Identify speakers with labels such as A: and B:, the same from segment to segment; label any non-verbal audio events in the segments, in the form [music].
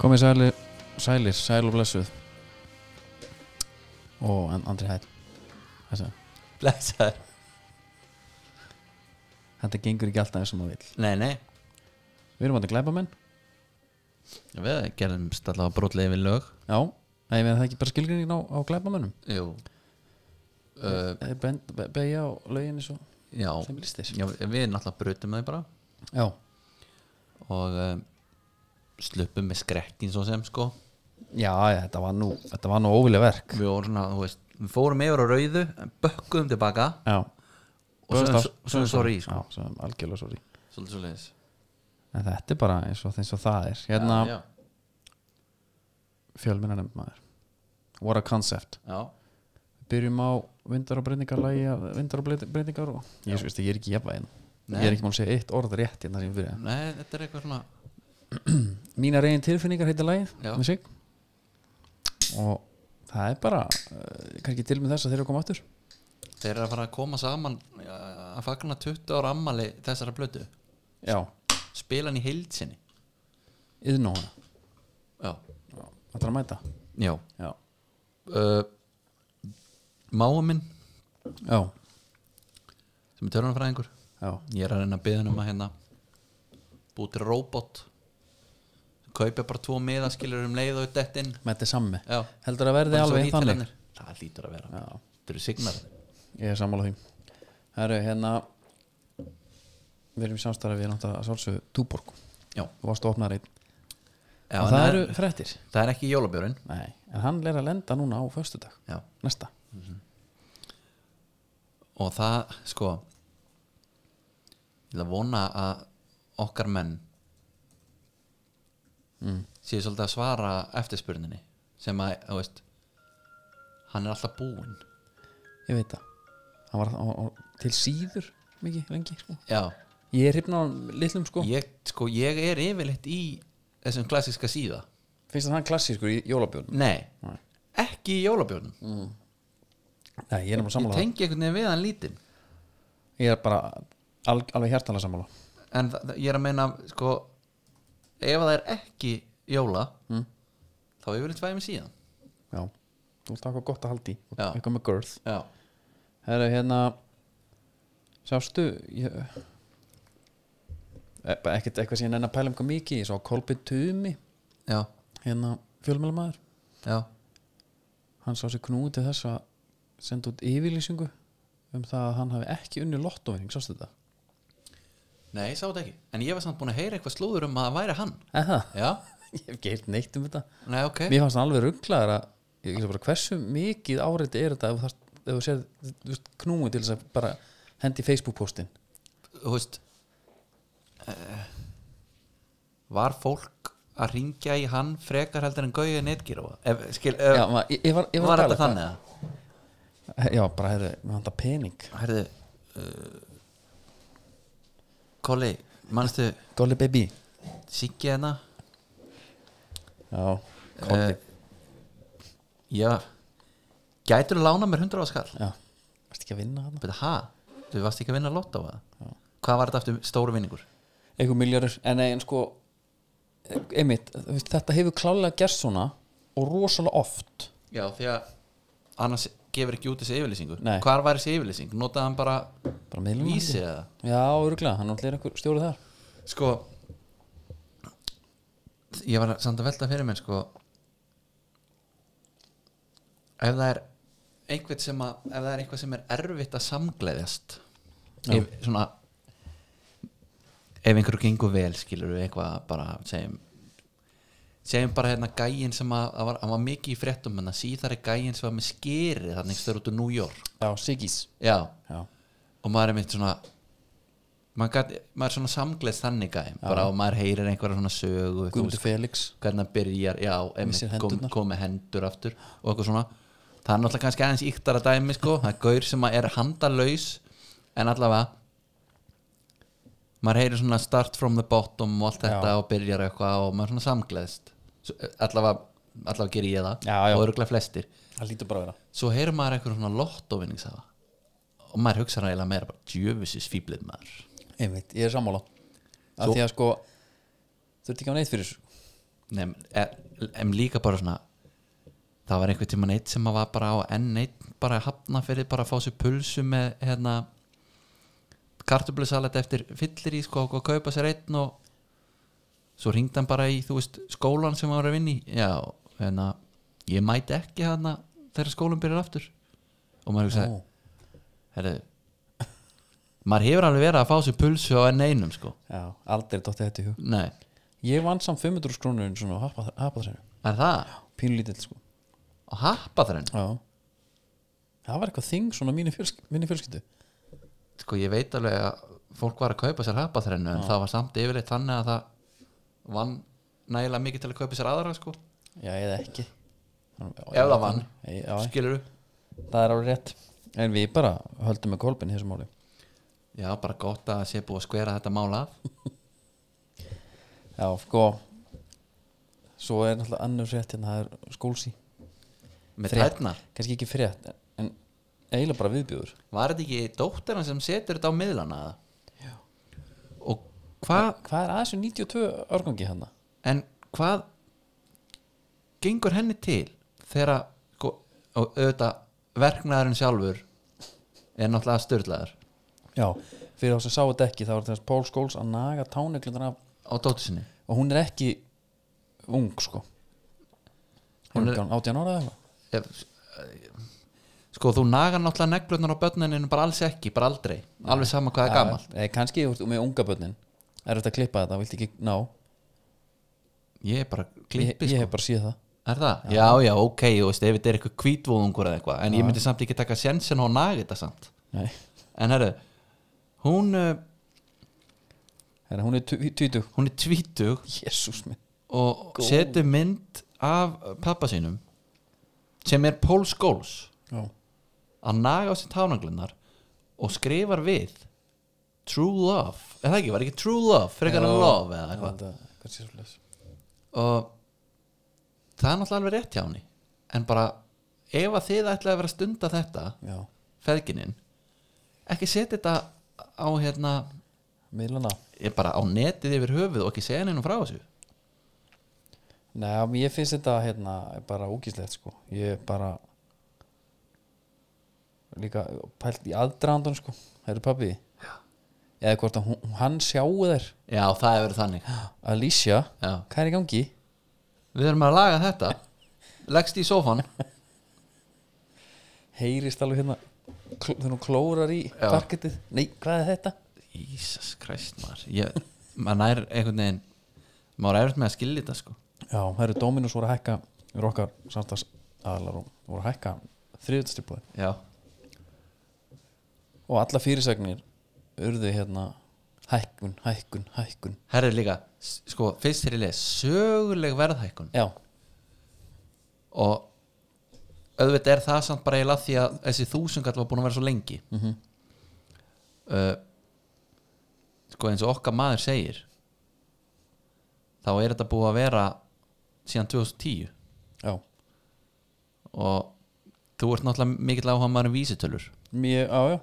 A: komið sælir, sælir, sæl og blessuð og and, Andri hætt Þessa,
B: Blessaður
A: þetta gengur ekki alltaf eins og maður vill
B: Nei, nei
A: við erum að glæpa menn,
B: Við gerðum allavega brotlega við lög
A: já nei, við erum það ekki bara skilgrinning á, á glæpa mönnum
B: Jú uh,
A: beigja á lögin eins og
B: já.
A: sem listir
B: já Við náttúrulega brutum þau bara
A: já,
B: Og uh, Sluppum með skrekkin svo sem sko
A: já já, þetta var nú þetta var nú óvileg verk
B: Við vorum svona, þú veist Við fórum yfir á rauðu en Bökkuðum tilbaka
A: já,
B: Og
A: Böðumst
B: svo,
A: af-
B: svo, svo, svo sorry sko.
A: já, svo, algjörlega sorry
B: Svolítið svo leiðis
A: en þetta er bara eins og, eins og það er hérna
B: já,
A: fjölmennar nefnd maður what a concept
B: já.
A: byrjum á vindar og breytingar lægi vindar og breyt- breytingar og ég veist ekki, ég er ekki jafnvæg
B: Nei.
A: ég er ekki múin að segja eitt orð rétt hérna sem ég byrja
B: Nei, þetta er eitthvað svona
A: mínar eigin tilfinningar heitir lægið
B: Já.
A: með sig og það er bara uh, kannski til með þess að þeir eru að koma aftur
B: Þeir eru að fara að koma saman uh, Að fagna 20 ára ammali þessara blötu
A: já,
B: Spila hann í heildsinni
A: yðn og hana
B: Já
A: það er að mæta
B: Já
A: já,
B: uh, Máa minn
A: já,
B: sem er törunafræðingur
A: já,
B: ég er að reyna að byggja hann um að hérna búið til robot sem kaupja bara tvo miðaskilur um leið og dett inn
A: mætti sammi
B: já,
A: heldur að verði
B: Bara svo
A: alveg
B: nýtt
A: þannig
B: fyrir hennar. það lítur að vera,
A: já,
B: þetta eru signar
A: ég er sammála því það eru hérna við erum í samstarfi við náttúrulega að sjálfsögðu Túborg
B: já,
A: þú varst að opna reitt
B: já
A: og
B: en
A: það eru frettir
B: það er ekki jólabjörn
A: Nei, en hann er að lenda núna á föstudag
B: já.
A: næsta
B: og það sko ég ætla að vona að okkar menn
A: Mm.
B: séu svolítið að svara eftirspurninni sem að, þú veist hann er alltaf búinn
A: ég veit það hann var á, á, til síður mikið lengi sko.
B: já,
A: ég er hrifna á litlum sko
B: ég, sko, ég er yfirleitt í þessum klassiska síða
A: finnst það hann klassískur í jólabjörn
B: nei,
A: Nei.
B: ekki í jólabjörnum
A: Nei, ég er bara
B: ég
A: sammála ég,
B: tengi einhvern veginn við hann lítinn
A: ég er bara al, alveg hjartanlega sammála
B: en það, það- ég er að meina sko, ef það er ekki jóla
A: Mm.
B: þá yfirleitt fæði mig síðan
A: já, þú ert eitthvað gott að haldi
B: Já.
A: eitthvað með girth
B: já,
A: það eru hérna sástu ég, e- bara ekkert eitthvað sem ég nenni að pæla um hvað mikið ég sá Kolbin Tumi
B: já,
A: hérna fjölmjölumaður
B: já,
A: hann sá sér knúið til þess að senda út yfirlýsingu um það að hann hafi ekki unni lottovinning, sástu þetta?
B: nei, ég sá þetta ekki en ég var samt búin að heyra eitthvað slúður um að það væri hann
A: Eða? [laughs]
B: já,
A: Ég hef ekki heilt neitt um þetta
B: nei, ok
A: Mér fannst hann alveg rugglaður að ég veist bara hversu mikið áreiti er þetta ef þú, þarft- ef þú sér þú veist, knúið til þess að bara hendi Facebook postin
B: þú veist uh, var fólk að ringja í hann frekar heldur en gauði netgíróa ef, skil, ef,
A: Já, maður- ég, ég var, ég var,
B: var
A: að um
B: þetta
A: pæla
B: þannig að
A: hvað- Já, bara heyrðu, mér fannst það pening
B: Herðu uh, Kolli, mannstu
A: Golly baby
B: Siggi hérna
A: Já, Golly
B: Eh. Já Gætur að lána mér 100 á skall
A: Já, varst ekki að vinna hann?
B: Betur, ha? Þú varst ekki að vinna lott á það Hvað var þetta eftir stóru vinningur?
A: einhver miljardur en, nei, en sko einmitt, þú veist, þetta hefur klálega gerst svona og rosalega oft
B: Já, því að annars gefur ekki út þessi yfirlýsingu
A: Nei.
B: Hvar var þessi yfirlýsing? Notaði hann bara
A: bara meðlum
B: vísi eða?
A: já, örgulega, hann náttúrulega er einhver stjórið þar
B: Sko Ég var samt að velta fyrir mér sko Ef það er einhvern sem að ef það er eitthvað sem er erfitt að samgleðjast ef, svona ef einhverju gengur vel skilur við eitthvað bara segjum segjum bara hérna gæin sem að, að var, hann var mikið í fréttum en að síðar er gæin sem var með skeri þannig stöður út úr New York
A: já, Sigis
B: já,
A: já,
B: og maður er mitt svona maður, gat, maður er svona samgleðs þannig gæm bara og maður heyrir einhverja svona sögu þú
A: Guðmundur Felix
B: hvernig hann byrjar, já,
A: Missir
B: einmitt, kom,
A: hendurnar.
B: kom með hendur aftur og eitthvað svona það er náttúrulega kannski aðeins yktara dæmi sko, það er gaur sem að er handalaus en allavega maður heyrir svona start from the bottom og allt þetta og byrjar eitthvað og maður svona samgleðst Svo- eh, allavega, allavega gerir ég það
A: Já, já.
B: og örgulega flestir
A: það lítur bara að vera
B: svo heyrir maður eitthvað svona lottovinningsafa og maður hugsa ræðilega meira bara djöfusis fíblið maður
A: einmitt, ég er sammála af því að sko þurfti ekki á neitt fyrir þessu
B: Nei, en- en e, líka bara svona það var einhvern tímann eitt sem að var bara á enn eitt bara að hafna fyrir bara að fá sér pulsu með hérna kartöblusalat eftir fyllir í sko og kaupa sér einn og svo ringdi hann bara í þú veist skólan sem hann var að vinna í já, hérna, ég mæti ekki hérna þegar skólan byrjar aftur og maður
A: Ó.
B: hugsaði, herru maður hefur alveg verið að fá sér pulsu á enn einum sko,
A: Já, aldrei dotti þetta í hug
B: nei,
A: Ég vann samt 500 krónur einu svona á hapa- hapaþrænu
B: er það
A: Pínlítill sko
B: og happa þar
A: Já Það var eitthvað þing svona mínu fjölskyldu
B: sko ég veit alveg að fólk var að kaupa sér hapaþrennu en það var samt yfirleitt þannig að það vann nægilega mikið til að kaupa sér aðra sko
A: Já, eða ekki
B: ef það vann,
A: Já, já,
B: skilur
A: það er alveg rétt En við bara höldum með kolpin í þessu máli
B: já bara gott að sé búið að skvera þetta mál af
A: Já, sko Svo er náttúrulega annars rétt hérna, það er skólsí
B: með
A: Frétt.
B: tætnar,
A: Kannski ekki frétt, en eiginlega bara viðbjóður
B: var þetta ekki dóttirna sem setur þetta á miðlana já. og hvað
A: Hvað er aðeins um 92 örgangi hann?
B: en hvað gengur henni til þegar að, sko, og auðvitað verknaðurinn sjálfur er náttúrulega störðlegar
A: Já, fyrir þá sem sáu þetta ekki þá var þess Pól Skóls að naga táneglundan af
B: á dóttu sinni
A: og hún er ekki ung sko
B: Hún
A: Hún
B: er-
A: er 18 ára eða eitthvað
B: ef, sko þú nagar náttúrulega neglurnar á börnuninu bara alls ekki, bara aldrei alveg sama hvað er
A: Já,
B: gamalt
A: eða kannski þú ert með unga börnin er þetta að klippa þetta, vilt ekki ná
B: ég er bara
A: ég,
B: klippi
A: ég
B: sko.
A: hef bara séð það
B: er það? Já. já, ok, þú veist, ef þetta er eitthvað kvítvóðungur eða eitthvað, en ég myndi samt ekki taka sjensin og naga þetta samt
A: Nei.
B: en herru, hún uh,
A: Herra, hún er tví- tvítug
B: hún er tvítug
A: jésús minn
B: og setur mynd af pappa sínum sem er Paul Scholes
A: já.
B: að naga á sér tánaglunar og skrifar við True Love, eða ekki, var ekki True Love frekar en
A: Já.
B: Love eða eitthvað
A: Þetta- kannski svoleiðis.
B: og það er náttúrulega alveg rétt hjá henni en bara ef að þið ætlaði að vera að stunda þetta
A: já,
B: feðginin ekki setja þetta á hérna
A: miðlana
B: ég bara á netið yfir höfuð og ekki segja henni frá þessu
A: Nei, ég finnst þetta hérna bara úkislegt sko ég bara líka pælt í aðdraðandun sko herru pappi eða hvort að hún, hann sjáu þær
B: já það hefur verið þannig
A: Alicia,
B: já.
A: hvað er í gangi?
B: við erum að laga þetta leggst í sófan
A: heyrist alveg hérna kl- þegar hún klórar í
B: Já.
A: parkettið nei, hvað er þetta?
B: Jesus Christ maður ég, maður nær einhvern veginn maður er eftir með að skilja þetta sko
A: Já, það eru Dominus voru að hækka eru okkar samstags aðlar og voru að hækka þriðutastilbúði
B: já,
A: og alla fyrirsagnir urðu hérna hækkun, hækkun, hækkun
B: herrið líka s- sko fyrst þegar ég les söguleg verðhækkun
A: Já,
B: og auðvitað er það samt bara eiginlega af því að þessi þúsungall var búin að vera svo lengi -hmm.
A: mhm,
B: uh, sko eins og okkar maður segir þá er þetta búið að vera síðan 2010
A: já,
B: og þú ert náttúrulega mikill áhuga maður um vísitölur
A: mjög, já, já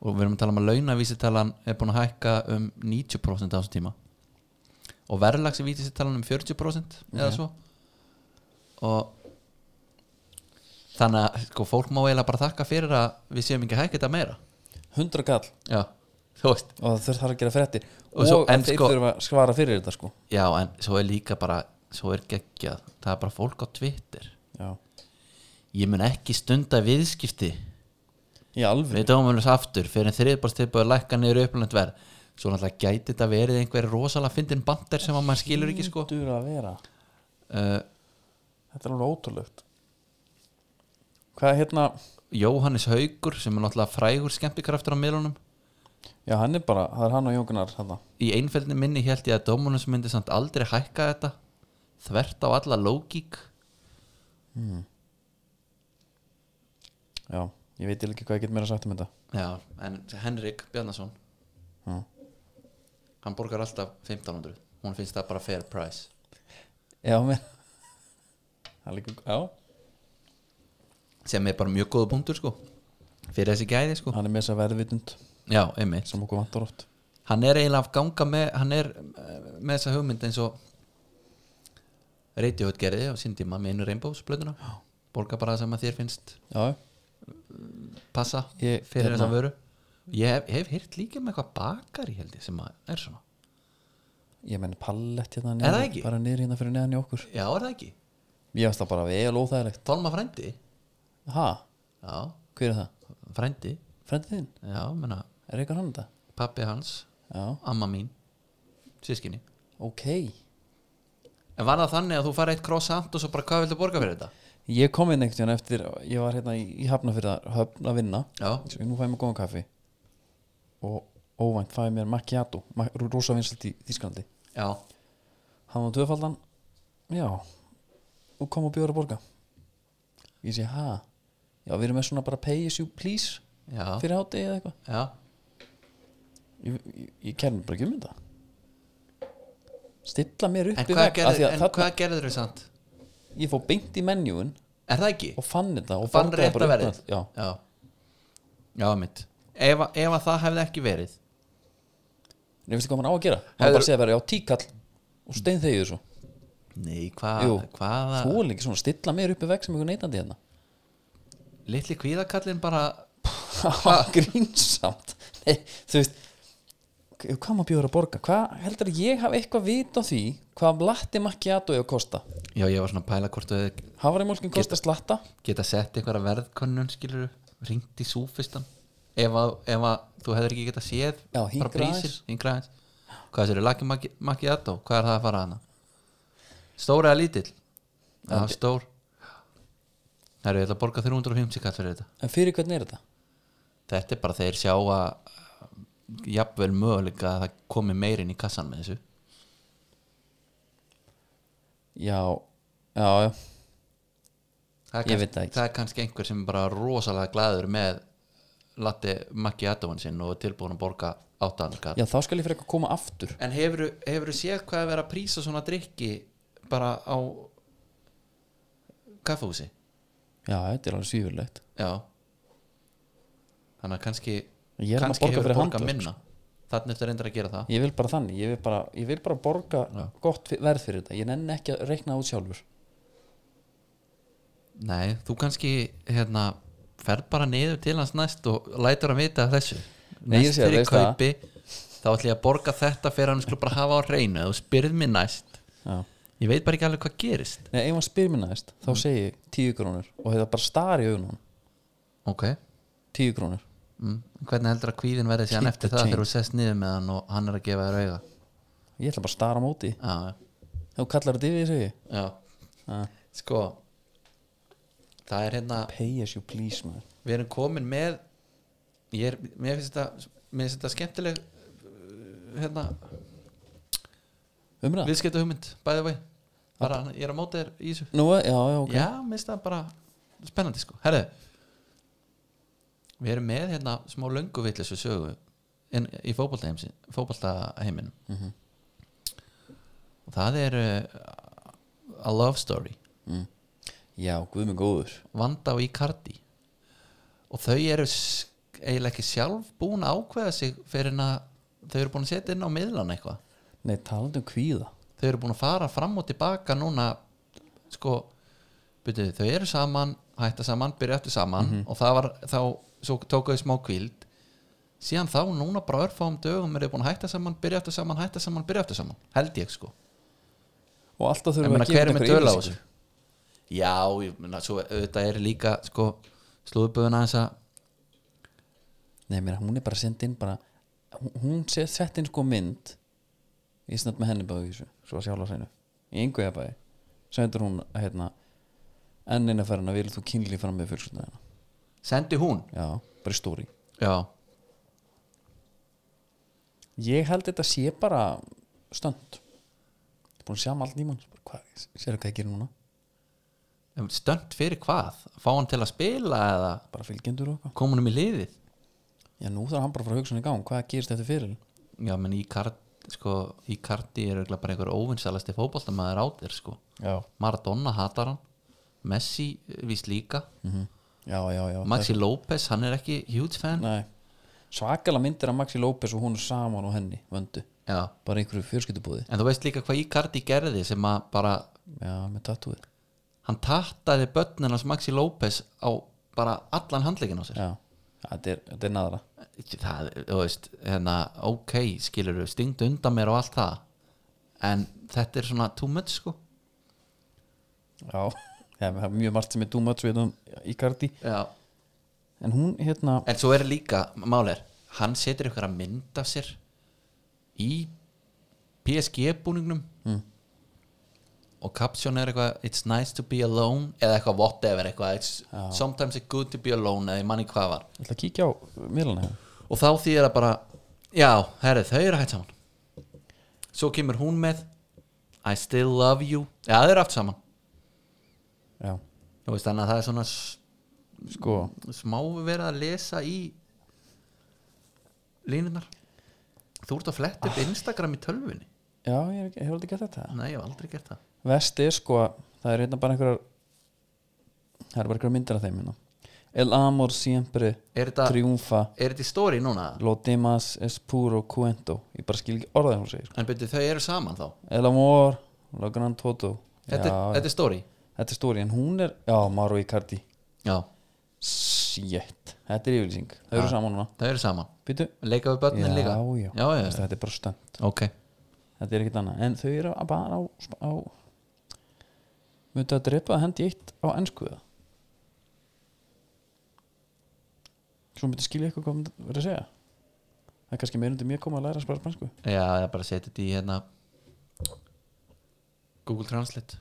B: og við erum að tala um að launavísitalan er búin að hækka um 90% á þessum tíma og verðlagsvísitalan um 40% eða svo og þannig að sko, fólk má eiginlega bara þakka fyrir að við séum ekki að hækka þetta meira
A: hundra kall
B: já, þú veist
A: og það þarf að gera frettir
B: Og
A: og,
B: svo- en
A: að þeir
B: sko-
A: þurfa að svara fyrir þetta sko
B: já, en svo er líka bara, svo er geggjað það er bara fólk á Twitter
A: Já,
B: ég mun ekki stunda viðskipti
A: í alveg
B: við dómunus aftur fyrir en þriðbólstippu að lækka niður upplönd verð svo náttúrulega gæti þetta verið einhver rosalega fyndin bandir sem að maður skilur ekki sko
A: Þetta að vera,
B: uh,
A: þetta er alveg ótrúlegt Hvað er hérna
B: Jóhannes Haugur sem er náttúrulega frægur skemmtikraftur á miðlunum
A: Já, hann er bara, það er hann og Jókunar hérna.
B: í einfældinu minni held ég að dómunus myndi samt aldrei hækka þetta þvert á alla lógík
A: Já, ég veit eiginlega ekki hvað ég get meira sagt um þetta
B: já, en Henrik Bjarnason
A: Já.
B: hann borgar alltaf 1500 hún finnst það bara fair price
A: Já, mér Það er líka, já
B: sem er bara mjög góða punktur sko fyrir þessi gæði sko
A: Hann er með þess að verðvitund
B: já, einmitt
A: sem okkur vantar oft
B: hann er eiginlega að ganga með hann er eh, með þessa hugmynd eins og Radiohead gerði á sín tíma með einu Rainbows blöðuna borga bara það sem að þér finnst
A: já,
B: passa
A: Ég-
B: fyrir
A: hérna-
B: þessa vöru ég hef, hef heyrt líka með eitthvað bakari held ég sem að er svona
A: ég menn pallett hérna
B: það
A: niður,
B: ekki?
A: bara niður hérna fyrir neðan í okkur
B: já er það ekki,
A: ég veist það bara vel óþægilegt
B: Tolma frændi
A: ha,
B: já,
A: hver er það?
B: frændi
A: frendið þinn,
B: já, menna,
A: er eitthvað hann þetta?
B: pappi hans
A: já,
B: amma mín, sískinni
A: ok
B: en var það þannig að þú fara eitt croissant og svo bara hvað viltu borga fyrir þetta
A: ég kom inn einhvern veginn eftir ég var hérna í í Hafnarfirðar höfn að vinna
B: já,
A: Svo nú fæði mér góðan kaffi og óvænt fæði mér macchiato ma- rosa vinsalt í Þísklandi
B: já,
A: hann var tvöfaldan já, og kom og bjóður að borga ég segi, ha já, við erum með svona bara pay as you please
B: já,
A: fyrir hátegi eða eitthvað
B: já
A: ég, ég, ég kæri mér bara ekki um þetta stilla mér upp
B: en
A: í
B: hvað
A: vegg, af því
B: gerður,
A: að
B: en
A: þarna-
B: hvað gerður þau samt
A: ég fór beint í menjúin
B: er það ekki,
A: og fann þetta og
B: fann
A: borgaði
B: rétta
A: bara
B: verðið.
A: upp með- já,
B: já já, mitt ef, að- ef að það hefði ekki verið
A: en ég veist ekki hvað mann á að gera mann
B: Hefur-
A: bara segja að vera á tíkall og stein þegið svo
B: nei, hva,
A: Jú.
B: hvaða
A: þú er líka svona, stilla mér upp í vegg sem ykkur neitandi hérna
B: litli kvíðakallin bara
A: [laughs] grínsamt Nei, þú veist hvað maður bjóður að borga, hvað heldur að ég hafi eitthvað vit á því hvað latti macchiato eða kosta
B: já, ég var svona að pæla hvort þau
A: haframjólkin kosta slatta
B: geta sett eitthvað verðkönnun skilur, ringt í súfistan ef að, ef að þú hefur ekki geta séð
A: Já, hingra
B: prísir, hingra aðeins hvað þessi eru, Lucky Maki- Macchiato hvað er það að fara hana stór eða lítill já, stór það eru, ég ætla að borga 350 kall fyrir þetta
A: en fyrir hvernig er þetta?
B: þetta er bara þeir sjá að jafnvel möguleika að það komi meirinn í kassan með þessu
A: já, já, já,
B: það er,
A: Ég veit það ekki.
B: það er kannski einhver sem er bara rosalega glæður með Latte Macchiatoan sinn og er tilbúin að borga áttaðanskall
A: já þá skal ég fyrir eitthvað koma aftur
B: En hefur, hefur séð hvað er verið að prísa svona drikki bara á kaffehúsi?
A: já, þetta er alveg svífurlegt
B: Já Þannig að kannski
A: Ég er að
B: kannski
A: borga
B: hefur
A: fyrir
B: borgað
A: handverk,
B: minna Þannig eftir reyndar að gera það
A: ég vil bara þannig, ég vil bara, ég vil bara borga
B: Já.
A: gott fi- verð fyrir þetta, ég nenni ekki að reikna út sjálfur
B: Nei, þú kannski hérna ferð bara niður til hans næst og lætur hann vita af þessu
A: Nei, ég
B: Næst
A: sé það,
B: fyrir
A: veist það.
B: kaupi þá ætlum ég að borga þetta fyrir hann skulle bara hafa á hreinu eða þú spyrð mér næst
A: já.
B: Ég veit bara ekki alveg hvað gerist
A: Nei, ef hann spyr mér næst, þá
B: Mm.
A: segi ég tíu krónur og þetta bara star í augunum
B: Ok
A: tíu krónur
B: mm. Hvernig heldur að kvíðin verði síðan
A: Keep
B: eftir
A: the
B: það
A: change.
B: þegar þú sest niður með hann og hann er að gefa þér auga
A: ég ætla bara að stara á móti
B: Já,
A: Ef þú kallar þetta yfir, segi ég
B: já,
A: Ah.
B: sko það er hérna
A: Pay as you please, maður
B: við erum komin með ég er, mér finnst þetta mér finnst þetta skemmtileg uh, hérna,
A: Umræða?
B: viðskipta hugmynd, bæði vei bara, ég er að móta þér í þessu
A: Nú, já, já, ok
B: já, mér finnst það bara spennandi sko, herðu við erum með hérna smá lönguvillisu sögu inn, í fótboltaheimin fótboltaheimin og það er uh, a love story
A: mm. Já, guð minn góður
B: Vanda og Icardi og þau eru s- eiginlega ekki sjálf búin að ákveða sig fyrir en að þau eru búin að setja inn á miðlan eitthvað
A: Nei, talandi um kvíða
B: þau eru búin að fara fram og tilbaka núna sko byrju, þau eru saman, hætta saman, byrja eftir saman
A: Mhm.
B: og það var þá svo tóku þau smá kvíld síðan þá núna bara örfáum dögum eru þau búin að hætta saman, byrja eftir saman, hætta saman, byrja eftir saman held ég sko
A: Og alltaf
B: Ég
A: þurfum við
B: meina,
A: að gefa
B: hver er
A: út
B: með
A: einhverja
B: tölu á
A: yfirlýsingu.
B: þessu? Já, ég meina, svo auðvitað er líka sko, slúðuböðuna aðeins að
A: Nei, mér, hún er bara sendt inn bara Hún, hún sé sett inn sko mynd Ég snart með henni báði í þessu Svo að sjálfa hreinu Í einhverja bæði Sendur hún, hérna Enn eina ferðina vil þú kynli fram með fjölskyldina hérna
B: sendi hún
A: Já, bara í stóri
B: já,
A: Ég held þetta sé bara stönd Ég er búin að sjá með allt nýmann Hvað, sérðu hvað ég gerir núna?
B: stönd fyrir hvað fá hann til að spila eða
A: Bara fylgjendur og eitthvað
B: koma hann um í liðið
A: Já, nú þarf hann bara að fara að hugsa hann í gang Hvað gerist eftir fyrir?
B: já, menn Íkard sko, Íkardi er örugglega bara einhver óvinnsalasti fótboltamaður á þér sko.
A: Já
B: Maradona hatar hann Messi eh, víst líka
A: Mm. Mhm. Já, já, já
B: Maxi López, hann er ekki huge fan
A: Nei Svakalega myndir af Maxi López og hún er saman og henni Vöndu
B: já.
A: bara einhverju fjörskiptubúði
B: en þú veist líka hvað Íkardi gerði sem að bara,
A: já, með tattúið
B: hann tattaði börnin hans Maxi López á bara allan handleikin á sér
A: já, þetta er, þetta er naðra
B: það, þú veist, hérna ok, skilur þú, stingt undan mér og allt það en þetta er svona too much sko
A: já, það er mjög margt sem er too much við um Icardi
B: já.
A: en hún hérna,
B: en svo er líka, málir hann setur ykkur að mynda sér í PSG búningnum mm. og caption er eitthvað it's nice to be alone eða eitthvað whatever eitthvað it's, sometimes it's good to be alone eða ég manni hvað var
A: ég ætla að kíkja á miðlana hérna
B: og þá því er það bara já, herri, þau eru hægt saman svo kemur hún með I still love you já, þau eru aftur saman
A: já,
B: Þú veist, þannig að það er svona s-
A: sko,
B: smá verið að lesa í línunar þú ert að fletta
A: Ah.
B: upp Instagram í tölvunni
A: já, ég hef ekki- hefur aldrei gert þetta
B: nei, ég hef aldrei gert það
A: Vest er sko að það er hérna bara einhverjar það er bara einhverjar myndir af þeim hérna. El Amor Siempre
B: er þetta,
A: Triunfa
B: er þetta í story núna?
A: Lo Demas Es Puro Cuento ég bara skil ekki orðað hún segir sko.
B: en byrju, þau eru saman þá
A: El Amor Lo Gran Toto já,
B: þetta, er-
A: þetta,
B: þetta er story
A: er stóri en hún er já, Maru Icardi
B: já,
A: Sjett, þetta er yfirlýsing þau eru
B: Já.
A: saman núna
B: þau eru saman
A: Býtu?
B: leika við
A: já,
B: börnin líka
A: já,
B: já, já,
A: Þetta er bara stönd
B: ok
A: þetta er ekkit annað en þau eru að bara á, á myndu að drepa að hendi eitt á ennsku það svo myndi skilja eitthvað hvað myndi verið að segja það er kannski meira undir mér koma að læra að spara spansku
B: já, ég bara setja þetta í hérna Google Translate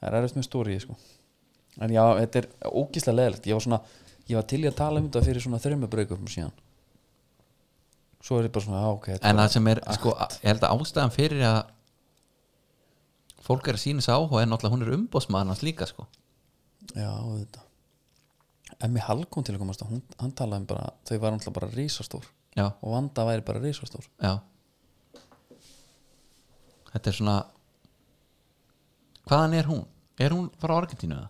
A: það er erfitt með stóri sko. en já, þetta er ógíslega leðilegt ég var svona, ég var til í að tala um þetta fyrir svona þreymur breykum síðan svo er ég bara svona, já ok þetta
B: en
A: er
B: það sem er, sko, ég held að ástæðan fyrir að fólk er að sína þessu áhuga en náttúrulega hún er umbóðsmaður hans líka, sko
A: Já, þetta Emmi Hall kom til að komast að hún, hann talaði um bara þau var náttúrulega bara risastór
B: já,
A: og Vanda væri bara risastór
B: já þetta er svona hvaðan er hún? er hún frá Argentínu eða?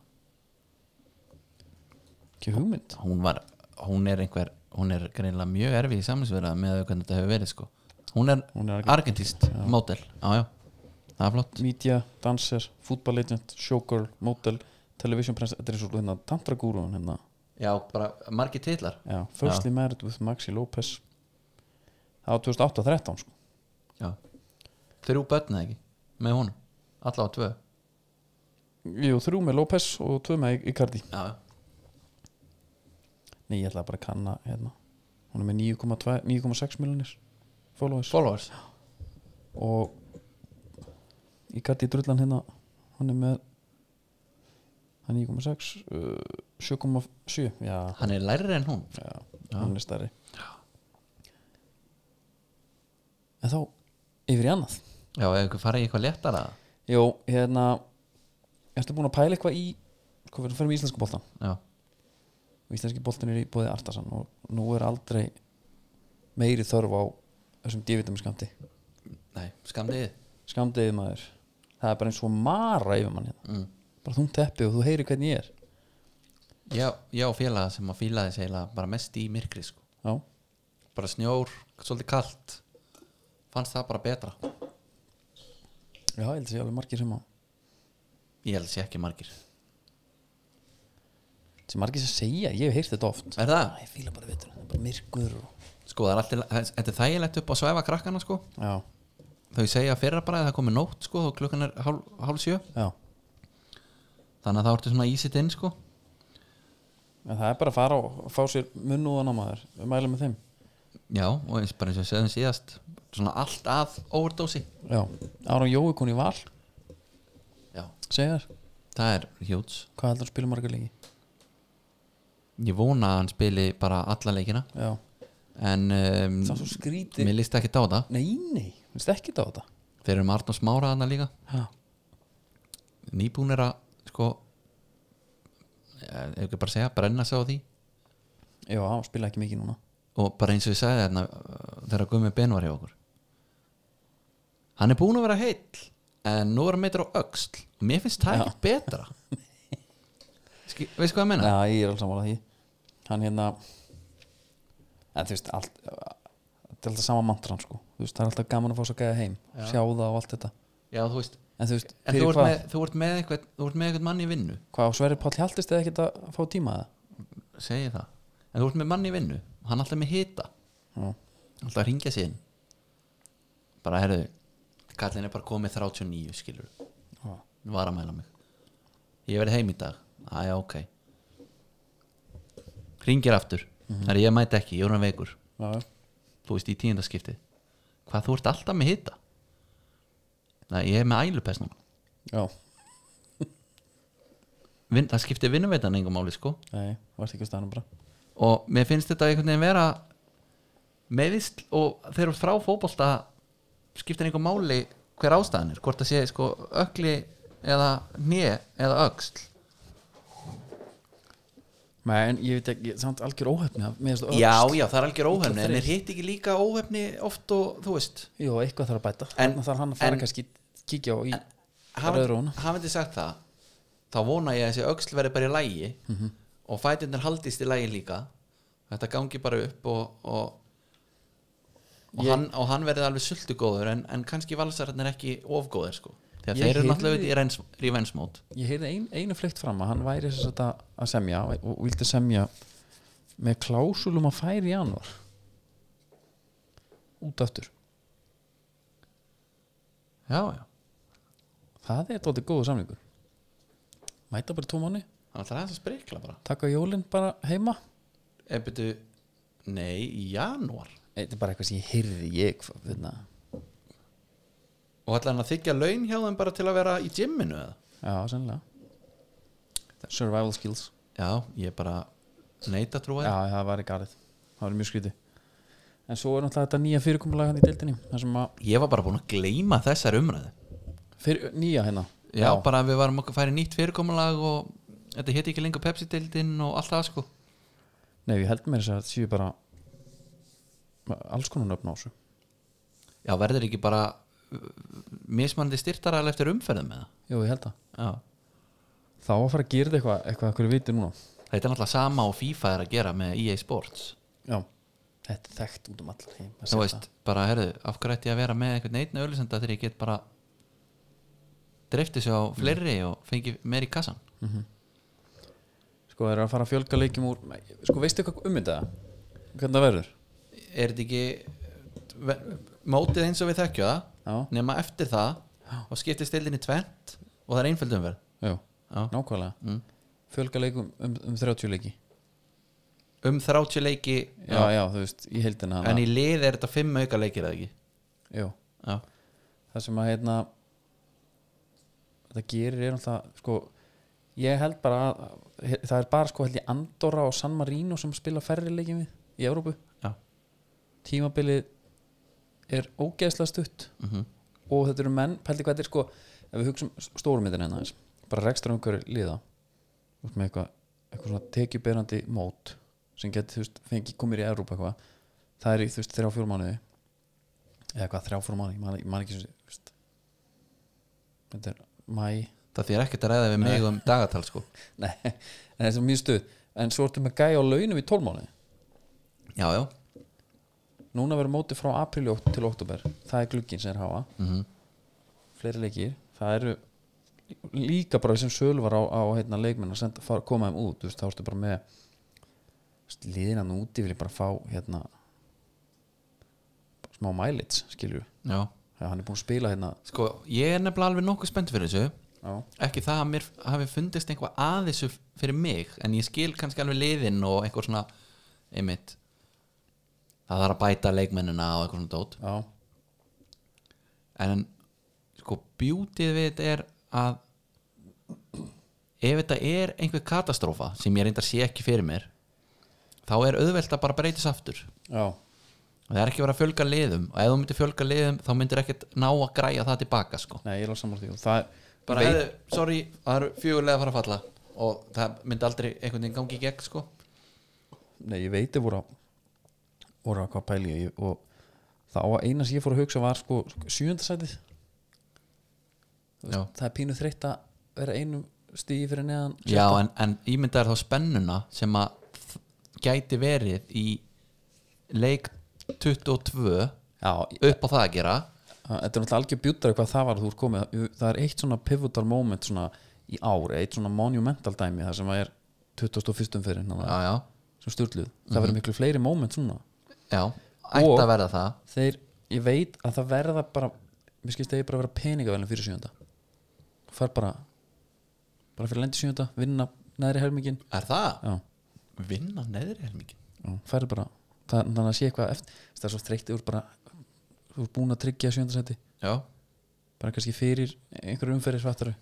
A: ekki hugmynd
B: hún var, hún er einhver hún er greinilega mjög erfið í saminsverða með að hvernig þetta hefur verið, sko hún er,
A: Hún er
B: argentist mótel, já, já, það er flott
A: media, danser, football agent, showgirl, model, television press þetta er eins og hérna tantragúrun hérna
B: já, bara margir titlar
A: Já, Firstly Married with Maxi Lopez það var 2008-13 sko.
B: já. þrjú börn eða ekki, með hún allavega tvö
A: Jú, þrjú með Lopez og tvö með I- Icardi
B: já, já
A: Nei, ég ætla bara að kanna hérna hún er með 9,2 9,6 miljonir followers
B: followers
A: og Icardi drullan hérna hann er með hann er 9,6 uh, 7,7 já,
B: hann er lærri en hún
A: já, hann er stærri en þá yfir í annað
B: já, ef ykkur farið í eitthvað léttara
A: Jó, hérna ertu búin að pæla eitthvað í hvað verður að fyrir með íslensku boltan
B: já,
A: íslenski boltin er í bóði Artasan og nú er aldrei meiri þörf á þessum divitamin skamti
B: nei, skamdið
A: skamdiði maður það er bara eins og mara yfir mann hérna
B: mm.
A: bara þú teppi og þú heyri hvernig ég er
B: já, já, félaga sem að fílaði segla bara mest í myrkri sko.
A: já,
B: bara snjór, svolítið kalt fannst það bara betra
A: já ég held að sé alveg margir sem að
B: ég held að sé ekki margir
A: sem margir sem segja, ég hef heyrt þetta oft
B: er það?
A: Æ, ég fíla bara vitur, það er bara myrkur og...
B: sko, það er alltaf, þetta er þægilegt upp á svæfa krakkana sko.
A: já,
B: þau segja fyrra bara að það komi nótt sko, og klukkan er hálf, hálf sjö
A: já
B: þannig að það ertu svona ísitt inn sko.
A: en það er bara að fara og fá sér munnúðan á maður við mælum með þeim
B: já, og eins bara eins og við segðum síðast svona allt að overdósi
A: já, Ára Jói kunni val
B: já,
A: segjar,
B: það er hjúts
A: hvað heldur að spila margar leiki
B: ég vona að hann spili bara alla leikina
A: já,
B: en um,
A: það er svo skrítið
B: mér líst ekki á það
A: nei, nei, finnst ekki þetta á þetta
B: þeir eru með Arnór Smára þarna líka
A: já,
B: nýbúnir að sko eh, ef ekki bara segja, brenna sig á því
A: já, hann spila ekki mikið núna
B: og bara eins og ég sagði þarna uh, þegar Gumi Ben var hjá okkur hann er búin að vera heill en nú er hann meitur á öxl og mér finnst það ekki betra Ski, veistu hvað ég meina?
A: já, ég er alls samanlega því hann hérna en þú veist, allt þetta er alltaf sama mantran sko Þú veist, það er alltaf gaman að fá svo gæða heim
B: Já.
A: sjá það og allt þetta
B: já þú veist
A: en þú veist,
B: en þú
A: fyrir
B: ert,
A: hvað,
B: með, þú, ert með eitthvað, þú ert með eitthvað mann í vinnu
A: hvað á Sverri Páll Hjaltist eða ekkert að fá tíma að
B: segi það, en þú ert með mann í vinnu hann alltaf með hita
A: það
B: alltaf að ringja síðan bara herðu kallin er bara komið 39 skilur
A: Já.
B: var að mæla mig ég verið heim í dag aðja ok ringir aftur mm -hmm. ég mæti ekki, ég er hann veikur
A: já, já,
B: þú veist í tíundaskipti hvað þú ert alltaf með hita Nei, ég er með ælupest núna
A: já,
B: Vin, það skiptir vinnuveitan engum máli sko
A: nei, varst ekki að staðanum bara
B: og mér finnst þetta einhvern veginn vera meðist og þeir eru frá fótbolta skiptir engum máli hver ástæðan er hvort það sé sko ökli eða né eða öxl
A: nei, en ég veit ekki, samt algjör óhefni að- mér finnst
B: já
A: öxl-
B: já það er algjör óhefni en
A: þreytt.
B: er hitt ekki líka óhefni oft og þú veist
A: Jú, eitthvað þarf að bæta
B: En-
A: en, þarf hann að fara
B: en-
A: kannski kíkja á í rauðróna
B: hafandi sagt það þá vona ég að þessi öxl verði bara í lægi
A: Mhm.
B: og fætinir haldist í lægi líka þetta gangi bara upp og, og og,
A: Ég-
B: hann, og hann verði alveg sultugóður en, en kannski valsararnir ekki ofgóðir sko
A: Ég
B: þegar þeir eru
A: heyrði-
B: náttúrulega í reyns- í revensmót
A: ég heyrði ein, einu flykt fram að hann væri þess að, að semja og, og vildi semja með klásulum að færi í januar út aftur
B: já já,
A: það er tóttið góðu samlingur mæta bara í tvo mánu
B: hann ætlar aðeins að sprikla bara
A: taka jólinn bara heima
B: eða byrju, nei, í janúar
A: þetta er bara eitthvað sem ég heyrði ég hérna. finna.
B: og ætlar hann að þykja laun hjá þeim bara til að vera í gymminu eða
A: já, sennilega survival skills
B: já, ég bara neita trúið
A: já, það var í garið það var mjög skríti en svo er náttúrulega þetta nýja fyrirkomulega hann í deildinni þar sem að
B: ég var bara búin að gleyma þessar umræðu
A: fyrir, nýja hérna
B: já, bara að við varum okkur að færa í nýtt fyrirkomulag og þetta hétt ekki lengur Pepsi-deildin og allt það sko
A: nei, ég held mér þess að þetta séu bara alls konar nöfn á þessu
B: já, verður ekki bara uh, mismanandi styrtara eftir umferðum með
A: Jú, ég held það
B: það já.
A: Þá að fara að gera þetta eitthvað, eitthvað að hverju viti núna
B: þetta er náttúrulega sama og FIFA er að gera með EA Sports
A: Já Þetta er þekkt út um allar heim að
B: þú
A: setja.
B: veist, bara herðu, af hverju ætti ég að vera með einhvern neittna auðlisenda þegar ég get bara dreifti sig á fleiri og fengi meir í kassan
A: Sko, þeir eru að fara að fjölga leikjum úr Sko, veistu eitthvað um þetta? Hvernig það verður?
B: er þetta ekki ve- mótið eins og við þekkjum það
A: Já,
B: nema eftir það og skiptist deildin í tvent og það er einföld umferð
A: já,
B: Já.
A: nákvæmlega
B: Mm.
A: Fjölga leikum um, um 30 leiki
B: um 30 leiki
A: Já, já, þú veist, í heildina
B: en í lið er þetta 5 auka leikir eða ekki
A: Já,
B: já,
A: það sem að hérna Þetta gerir er alltaf Sko, ég held bara að Það er bara, sko, held ég Andorra og San Marino sem spila færri leikjum við í Evrópu
B: já.
A: tímabilið er ógeðslega stutt
B: Mm
A: og þetta eru menn, pældi hvað þetta er sko ef við hugsaum stórmyndin hérna aðeins bara rekstur um hverju liða út með eitthvað, eitthvað svona tekjuberandi mót sem geti, þú veist, fengi komir í Evrópa eitthvað, það er í, þú veist, þrjá fjór mánuði eða eitthvað, þrjá fjór mánuði ég man, ég man ekki svo, þú veist þetta er mæ
B: það þýr ekkert að ræða við mig um dagatal sko.
A: [laughs] nei, en þetta er mjög stuð en svo ertu með gæja á launum í tólmánuði
B: já, já
A: núna verður mótið frá apríli ótt- til oktober það er glugginn sem er hafa
B: mm
A: fleiri leikir það eru líka bara sem sölu var á, á heitna, leikmenn að senda, fara, koma þeim út þú veist, þá ertu bara með þú veist, liðina nú úti vil ég bara fá hérna, smá mileage skilju,
B: já
A: þegar hann er búinn að spila hérna,
B: sko, ég er nefnilega alveg nokkuð spennt fyrir þessu
A: já,
B: ekki það að mér hafi fundist einhvað að þessu fyrir mig en ég skil kannski alveg liðin og einhver svona einmitt það þarf að bæta leikmennina og eitthvað svona dót
A: já,
B: en sko bjútið við þetta er að ef þetta er einhver katastrófa sem ég reyndar sé ekki fyrir mér þá er auðvelt að bara breytis aftur
A: já,
B: það er ekki bara að fjölga liðum og ef þú myndir fjölga liðum þá myndir ekkert ná að græja það tilbaka sko.
A: nei, ég er á sammála því og það er,
B: bara hefðu, sorry, það eru fjögulega að fara að falla og það myndi aldrei einhvern veginn gangi í gegn sko.
A: nei, ég veit ég voru að voru að hvað pæli ég og þá að eina sem ég fór að hugsa var sko sjöndasætið,
B: já,
A: það er pínu þreytt að vera einum stíði fyrir neðan
B: já en, en ímyndaður þá spennuna sem að þ- gæti verið í leik 22
A: já,
B: upp á það að gera
A: Þetta er náttúrulega algjör bjútari hvað það var að þú er komið Það er eitt svona pivotal moment svona í ár eitt svona monumental dæmi það sem er 21. fyrir
B: já, já,
A: sem styrluð, það verður miklu fleiri moment svona
B: já, ætti
A: Og-
B: að verða það
A: þeir, ég veit að það verða bara mér skilst að ég bara að vera peningavelin fyrir sjönda far bara bara fyrir lendi sjönda, vinna neðri helmingin
B: er það?
A: já,
B: vinna neðri helmingin
A: já færðu bara það, þannig að sé eitthvað eftir það er svo þreytt, þú er bara þú er búin að tryggja sjöndasæti
B: já,
A: bara kannski fyrir einhverju umferðir svartaru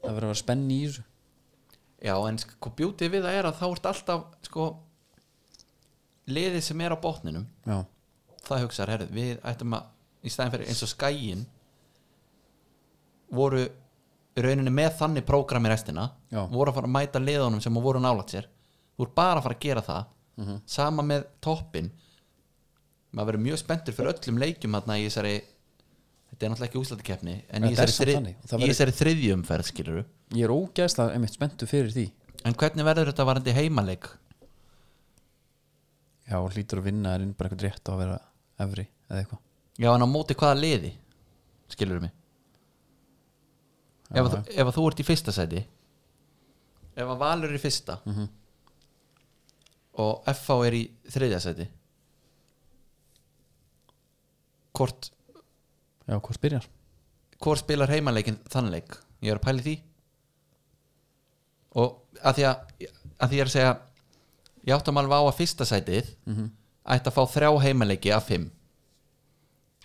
A: það verður að vera spenni í þessu
B: já en sko bjútið við það er að þá ert alltaf sko liðið sem er á botninum
A: já,
B: það hugsaðar, herru, við ættum að í stæðin fyrir eins og skæin voru í rauninni með þannig prógrami restina
A: Já.
B: voru að fara að mæta liðunum sem voru nálægt sér þú voru bara að fara að gera það
A: Mhm.
B: sama með toppin maður verður mjög spenntur fyrir öllum leikjum þarna í þessari þetta er náttúrulega ekki úslættikefni en
A: Nei,
B: í
A: þetta er
B: þessari,
A: samt
B: þrið,
A: þannig og það
B: í
A: verður-
B: þessari þriðjumferð skilur
A: ég er ógæðslega einmitt spenntu fyrir því
B: en hvernig verður þetta varandi heimaleik
A: já, og hlýtur að vinna er inn bara eitthvað rétt á að vera efri eða eitthvað
B: já en á móti hvaða liði skilur mig ef, að, þú- ef að þú ert í fyrsta sæti ef að Valur er í fyrsta
A: Mhm.
B: og FH er í þriðja sæti hvort,
A: já, hvað spyrjar?
B: hvort spilar heimaleikin þannleik, ég er að pæli því og að því að, að því ég er að segja ég áttum alveg á að fyrsta sætið
A: Mhm.
B: ætti að fá þrjá heimaleiki af fimm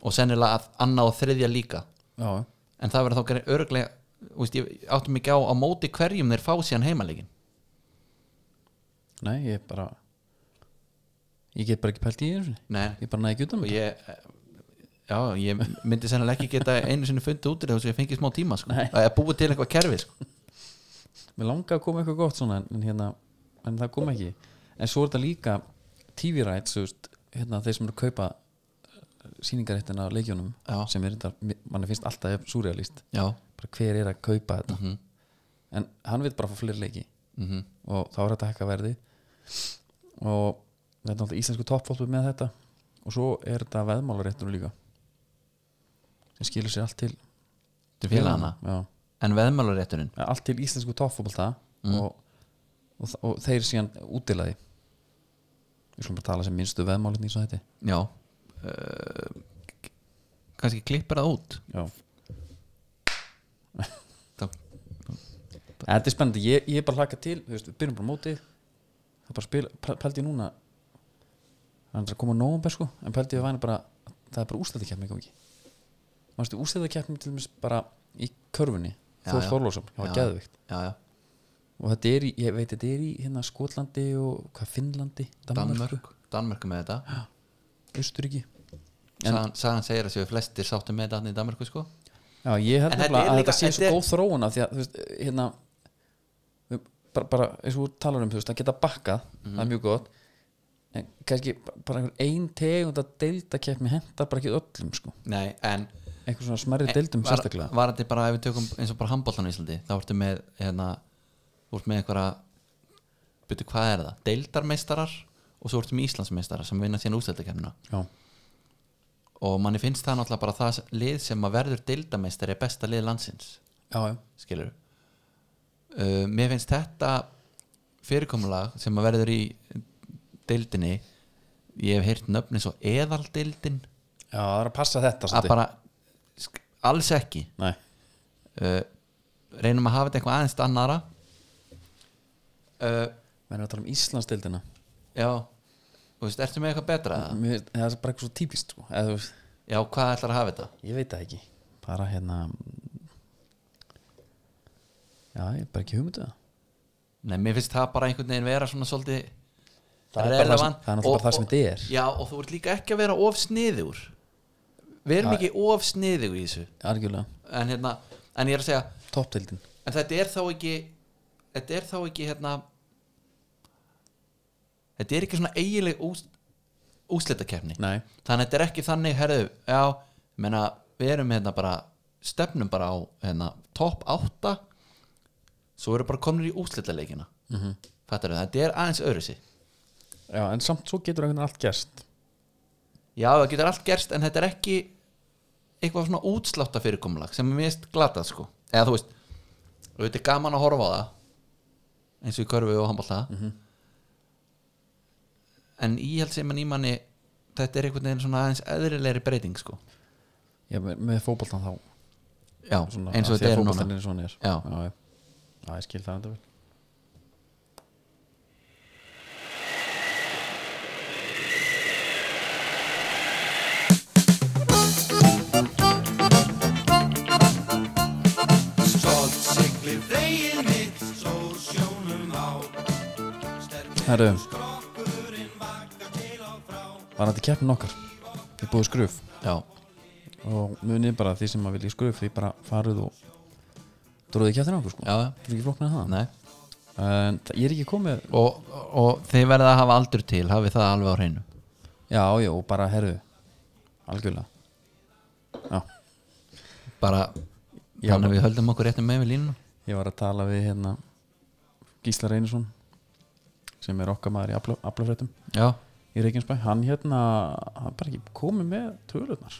B: og sennilega að annað og þriðja líka
A: já, já
B: en það verður þá gerði örglega úst, ég áttum ekki á á móti hverjum þeir fá síðan heimaleikin
A: Nei, ég bara Ég get bara ekki pælt í þessu
B: Nei.
A: Ég bara næði ekki um út af
B: og
A: mig
B: ég já, ég myndi sennilega ekki geta einu sinni fundið út í þessu ég fengi smá tíma sko.
A: Nei.
B: að búið til eitthvað kerfi sko.
A: Mér langa að koma eitthvað gott svona en, en, hérna, en það kom ekki En svo er þetta líka TV rights þú veist, hérna, Þeir sem eru að kaupa sýningaréttina á leikjónum
B: Já.
A: sem er þetta, manni finnst alltaf súrealist
B: já, Mhm.
A: bara hver er að kaupa þetta en hann vil bara fá fleiri leiki
B: mm
A: og þá er þetta hekka verði og þetta er náttúrulega íslensku toppfólk með þetta og svo er þetta veðmálaréttur líka sem skilur sér allt til
B: til félagana
A: já,
B: en veðmálarétturinn
A: allt til íslensku toppfólta
B: Mm.
A: og, og, þa- og þeir síðan útilaði við slum bara tala sem minnstu veðmálinn í svo þetta
B: já uh, kannski klippir það út
A: já.
B: Það-
A: [laughs] þetta er spennandi, ég, ég er bara hlaka til þú veist, við byrjum bara mótið það er bara spil, pældi ég núna það er að koma nómber sko en pældi ég að væna bara, það er bara úrstæðakeppni ekki mannstu úrstæðakeppni til dæmis bara í körfunni
B: Já,
A: Þór
B: já.
A: Þorlósson, það var
B: Já.
A: geðvikt
B: já, já,
A: og þetta er í, ég veit, þetta er í hérna Skotlandi og hvað Finnlandi, Danmarku,
B: Danmörk Danmörk er með þetta
A: Östuríki En-
B: sagan, sagan segir að séu flestir sáttu með þetta þarna í Danmörku sko
A: Já, ég held
B: En þetta
A: nefnilega
B: er
A: að
B: líka-
A: þetta sé
B: þetta
A: svo
B: er-
A: góð þróun af því að, þú veist, hérna við- bara, bara eins og þú talar um, þú veist, að geta bakkað
B: Mhm.
A: það er mjög gott en kannski bara einhver ein tegund að deilda keppni hendar bara ekki öllum, sko
B: nei, en
A: einhver svona smerri deildum
B: Eh, var,
A: sérstaklega
B: var þetta bara ef við tökum eins og bara handbóltan í Íslandi þá ertu með hérna, þú ert með einhverja byrju hvað er það, deildarmeistarar og svo ertu með Íslandsmeistarar sem vinna síðan úsleitakefnina
A: Já,
B: og manni finnst það náttúrulega bara það sem- lið sem að verður deildarmeistari er besta lið landsins
A: já, já,
B: skilur uh, mér finnst þetta fyrirkomulag sem að verður í deildinni ég hef heyrt nöfni svo eðaldeildin
A: já, það er að passa þetta
B: að
A: svolítið.
B: bara sk- alls ekki
A: Nei,
B: uh, reynum að hafa þetta eitthvað aðeins annara uh,
A: við erum að tala um Íslandsdeildina
B: já þú veist, ertu með eitthvað betra eða?
A: Mér- það er bara eitthvað svo típist, sko eða, þú veist,
B: já, hvað ætlar að hafa þetta
A: ég veit það ekki bara hérna já, ég er bara ekki hugmyndu það
B: nei, mér finnst það bara einhvern veginn vera svona svolítið
A: Það er bara það sem-
B: relevant
A: það er náttúrulega
B: og-
A: bara það sem
B: og-
A: þetta er.
B: já, og þú ert líka ekki að vera of sniður við erum ekki of sniður í þessu
A: algjörlega,
B: en hérna, en ég er að segja
A: toppdeildin
B: en þetta er þá ekki þetta er þá ekki hérna þetta er ekki svona eiginleg ús, úslitakefni
A: Nei,
B: þannig að þetta er ekki þannig herðu, já, ég meina við erum hérna bara, stefnum bara á hérna, topp 8 svo eru bara komin í úslitaleikina mm
A: Mhm.
B: -hmm. þetta er aðeins öðru sig
A: já, en samt svo getur einhvern veginn allt gerst
B: já, það getur allt gerst en þetta er ekki eitthvað svona útslátta fyrirkomulag sem er mest glatað sko eða þú veist, þetta er gaman að horfa á það eins og í körfu og handbólta
A: Mhm.
B: en ég held sem að nýmanni þetta er einhvern veginn svona aðeins eðrilegri breyting sko
A: Já, með, með fótboltan þá
B: já,
A: svona,
B: eins og
A: af því að
B: þetta er
A: fótboltinn
B: núna
A: eins og hann er
B: Já.
A: já, já. já ég skil það enda vel Herru Var þetta keppnin okkar Þið búið skruf
B: já,
A: og munið bara því sem að vilja skröf því bara farið og dróðið kjáttin okkur sko
B: já, já,
A: það er ekki flóknar það
B: nei
A: en það- ég er ekki komið
B: og, og þið verða að hafa aldur til hafið það alveg á hreinu
A: já já og bara herðu algjörlega já
B: bara,
A: Já,
B: þannig að við höldum okkur réttum með við línu
A: ég var að tala við hérna Gísla Reynisson sem er okkar maður í afla- aflafréttum
B: já,
A: í Reykjanesbæ hann hérna hann bara ekki komið með tölurnar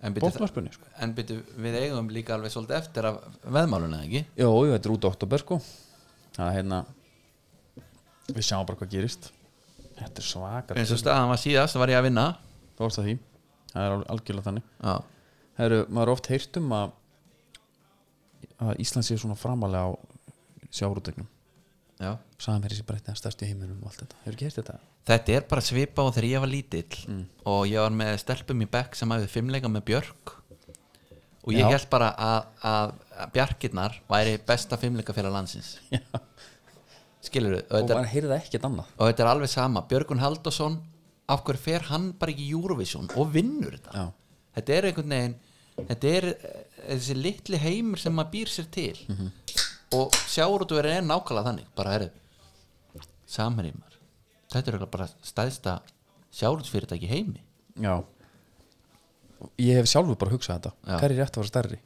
B: en byrju,
A: bóttvarpunni sko
B: en byrju við eigum líka alveg svolítið eftir af veðmáluna ekki
A: já já þetta er út oktober sko það er hérna við sjáum bara hvað gerist þetta er svakar
B: eins og staðan var síðast var ég að vinna
A: Þú varst að því Það er al- algjörlega þannig
B: já,
A: Heru, Maður er oft heyrt um að, að Ísland sé svona framalega á sjáurútegnum
B: já.
A: Samherri sé bara eitt eða stærsti í heiminum og allt þetta Hefur ekki heyrt þetta?
B: þetta er bara svipa og þegar ég var lítill og ég var með stelpum í bekk sem hafið fimmleika með Björk og ég
A: Já.
B: held bara að, að, að Bjarkirnar væri besta fimmleika fyrir landsins
A: Já.
B: skilur við, og
A: Og
B: þetta,
A: maður heyrði það ekkert annað
B: og þetta er alveg sama Björgun Haldarsson, af hverju fer hann bara ekki í Eurovision og vinnur þetta
A: Já,
B: þetta er einhvern veginn þetta er eh, þessi litli heimur sem maður býr sér til og sjáurútuverið er nákvæmlega þannig bara er samherjumar þetta er örugglega bara stæðsta sjáurútsfyrirtæki í heimi
A: já Ég hef sjálfur bara hugsað þetta
B: Já.
A: Hvað er rétt að vera stærri?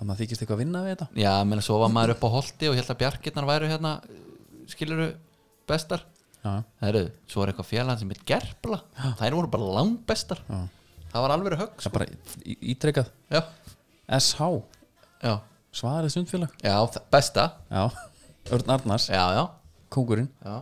A: Að maður þykist eitthvað að vinna við þetta?
B: já, menn að svo var maður upp á holti og ég held að bjargirnar væru hérna eh, skiluru bestar
A: Já,
B: Heru, svo er eitthvað félag sem heit gerpla þær voru bara langbestar
A: Já.
B: það var alveg högg
A: það
B: sko.
A: er bara í- ítrekað
B: já,
A: SH,
B: já,
A: svarið sundfélag
B: já, þa- besta
A: Já, Örn Arnars,
B: já, já,
A: kóngurinn
B: já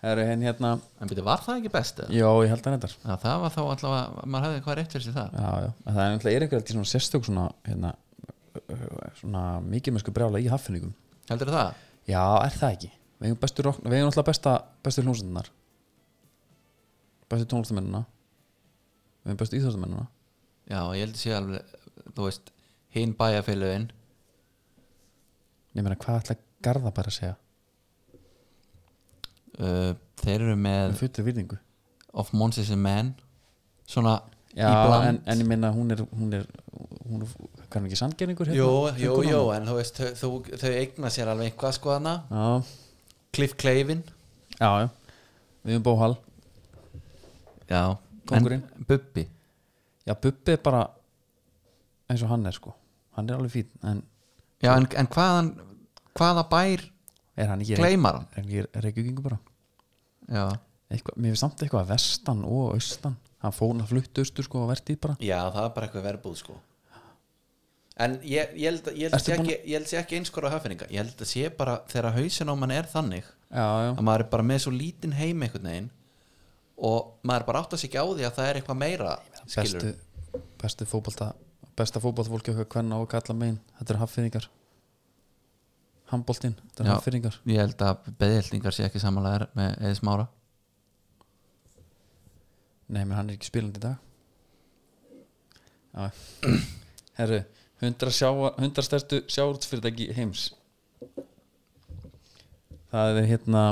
A: Heru, henn, hérna,
B: en byrju, var það ekki besta?
A: Já, ég held að þetta
B: Já, það var þá allavega, maður hafði eitthvað rétt fyrir sér það
A: já, já. En það er náttúrulega er eitthvað til svona sérstök svona, hérna, ö- ö- svona mikið mennsku brjála í haffinningum
B: Heldur það?
A: já, er það ekki við eigum, bestu, rock- við eigum náttúrulega besta, bestu hljómsveitinnar bestu tónlistamennina við eigum bestu íþjóðstamennina
B: Já, ég held að sé alveg, þú veist hinn bæjarfélögin
A: ég meina, hvað ætla Garða bara að segja
B: uh, þeir eru
A: með
B: með
A: fullu virðingu
B: Of Monsters and Men svona
A: já,
B: í bland
A: en, en ég meina, hún er hún er, hún er, kann ekki hérna? sandgerningur
B: Jú, jú, jú, en þú veist þau, þau, þau eigna sér alveg eitthvað sko hana
A: já,
B: Cliff Clavin
A: já, já við eigum bóhal
B: Já,
A: Kóngurinn.
B: en Bubbi
A: já, Bubbi er bara eins og hann er sko hann er alveg fín, en
B: Já, en, en hvaðan, hvaða bær
A: er hann ekki
B: gleymar hann?
A: en ég er reykjökingu bara
B: Já,
A: eitthvað, mér finnst samt eitthvað að vestan og austan hann fór hann að fluttu austur sko og vertið bara
B: Já, það er bara eitthvað verðbúð sko En ég, ég held að ég held
A: Ertu
B: sé
A: búin-
B: ekki, ég held sé ekki einskora hafninga Ég held að sé bara þegar hausin á mann er þannig
A: já, já,
B: að maður er bara með svo lítinn heim einhvern veginn og maður bara átt að sig ekki á því að það er eitthvað meira skilur
A: bestu, bestu fótbolta besta fótboltafólki okkar hvenna og kalla megin þetta eru haffyrningar handboltinn, þetta eru
B: Já.
A: haffyrningar
B: Ég held að beðhildingar sé ekki samanlegar með eða smára
A: nei, menn hann er ekki spilandi í dag já, herru 100, sjáa, 100 stærstu sjáurtsfyrirtæki heims það er hérna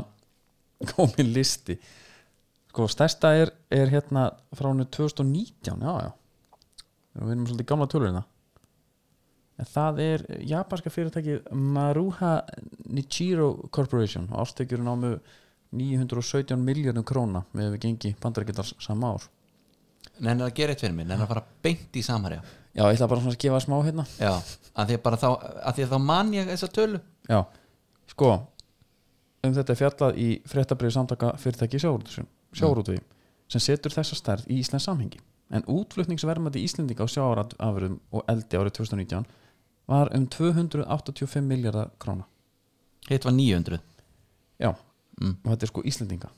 A: [laughs] komin listi sko stærsta er, er hérna frá henni 2019 já já við erum svolítið gamla tölurina en það er japanska fyrirtæki Maruha Nichiro Corporation og ástekjur námu 917 miljardum króna með við gengi bandarækjaldar sama ár
B: Nenni að gera eitt fyrir mig, nenni að fara beint í samherja
A: já ég ætla bara svona að gefa smá hérna
B: Já, að því að bara þá að því að þá man ég þessa tölu
A: Já, sko um þetta er fjallað í fréttabrið samtaka fyrirtæki sjáurútvegi sem setur þessa stærð í Íslands samhengi en útflutningsverðmæti Íslendinga á sjáarafurðum og eldi árið 2019 var um 285 miljardar króna
B: hitt var 900
A: já,
B: Mm.
A: og þetta er sko Íslendinga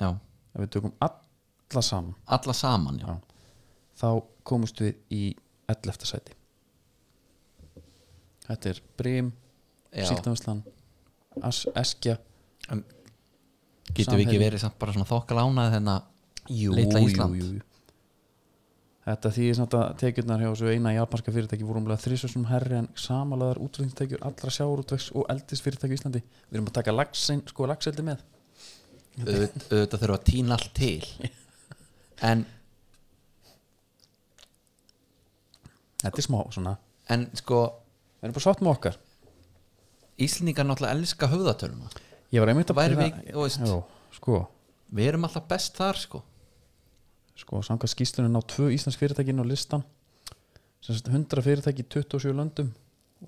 B: já,
A: ef við tökum alla saman
B: alla saman já.
A: Já. þá komumst við í 11. sæti þetta er Brim,
B: Já.
A: Síldanslan Eskja
B: En getum við ekki
A: Samherji.
B: verið samt bara svona þokkalánað þennan
A: jú,
B: Litla Ísland.
A: jú, jú. Þetta því samt að tekjurnar hjá þessu eina japanska fyrirtæki voru umlega þrísvössum herri en samanlegar útflutningstekjur allra sjáurútvegs og eldis fyrirtæki í Íslandi Við erum að taka laxin, sko, laxeldi með
B: auðvitað auðvitað þurfa að týna allt
A: [laughs]
B: til en,
A: Þetta er smá svona
B: en sko
A: Við erum bara sátt með okkar
B: Íslendingar náttúrulega elska höfðatöluna
A: Ég var einmitt að
B: Væri
A: pæla-
B: við- þú veist-
A: Jó, sko,
B: við erum alltaf best þar sko
A: sko, samkvæmt skýslunum á tvö Íslands fyrirtækin á listan sem sagt 100 fyrirtæki í 27 löndum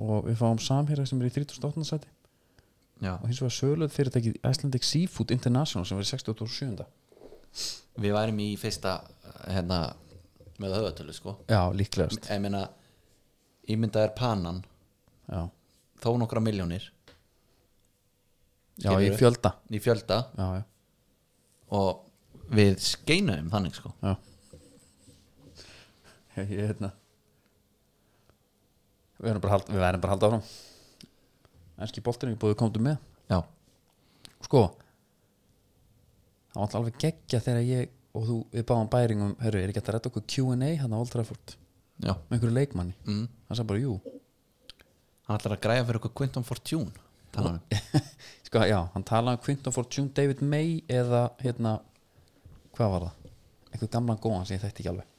A: og við fáum samherja sem er í 38. sæti
B: já.
A: og hins vegar sölöð fyrirtækið Icelandic Seafood International sem var í 67.
B: við værum í fyrsta hérna með höfðatölu sko
A: Já, líklegast
B: ég meina ímyndað er panan
A: Já,
B: þó nokkra miljónir
A: já
B: Skilurðu?
A: í fjölda
B: í fjölda
A: Já, já,
B: og við skeinuðum þannig sko
A: já Ég, ég hérna Við verðum bara að halda, við verðum bara að halda áfram Enski boltinu, ég búið komdu með
B: já,
A: sko það var alltaf alveg geggja þegar ég og þú við báðum bæringum, herru, er ekki hægt að redda okkur Q&A hann hérna á Old Trafford
B: já
A: með einhverju leikmanni,
B: mm.
A: hann sagði bara jú
B: hann ætlar að græja fyrir okkur Quinton Fortune um. talaðu
A: [laughs] sko, já, hann talaði um Quinton Fortune, David May eða hérna, hvað var það einhver gamlan góðan sem ég þekki ekki alveg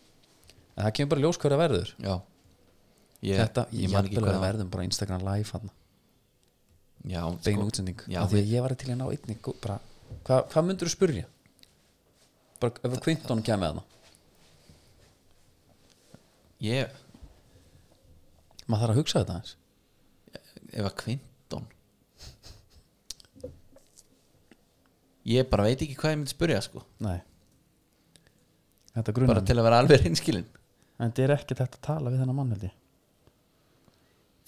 A: en það kemur bara í ljós hverja verður
B: já ég,
A: þetta,
B: ég
A: ég
B: man ekki
A: jafnvel að
B: hvað
A: við verðum bara Instagram live hann,
B: já,
A: bein
B: sko,
A: útsending
B: já,
A: af því að ég var til að ná einni gó- bara, hvað, hvað myndur þú spurja bara ef að Quinton kemur að
B: ég
A: maður þarf að hugsa þetta eins
B: ef að Quinton ég bara veit ekki hvað ég myndi spyrja sko
A: Nei Þetta
B: bara
A: grunar
B: til að vera alveg hinskilin
A: En þetta er ekkert hægt að tala við þennan mann held ég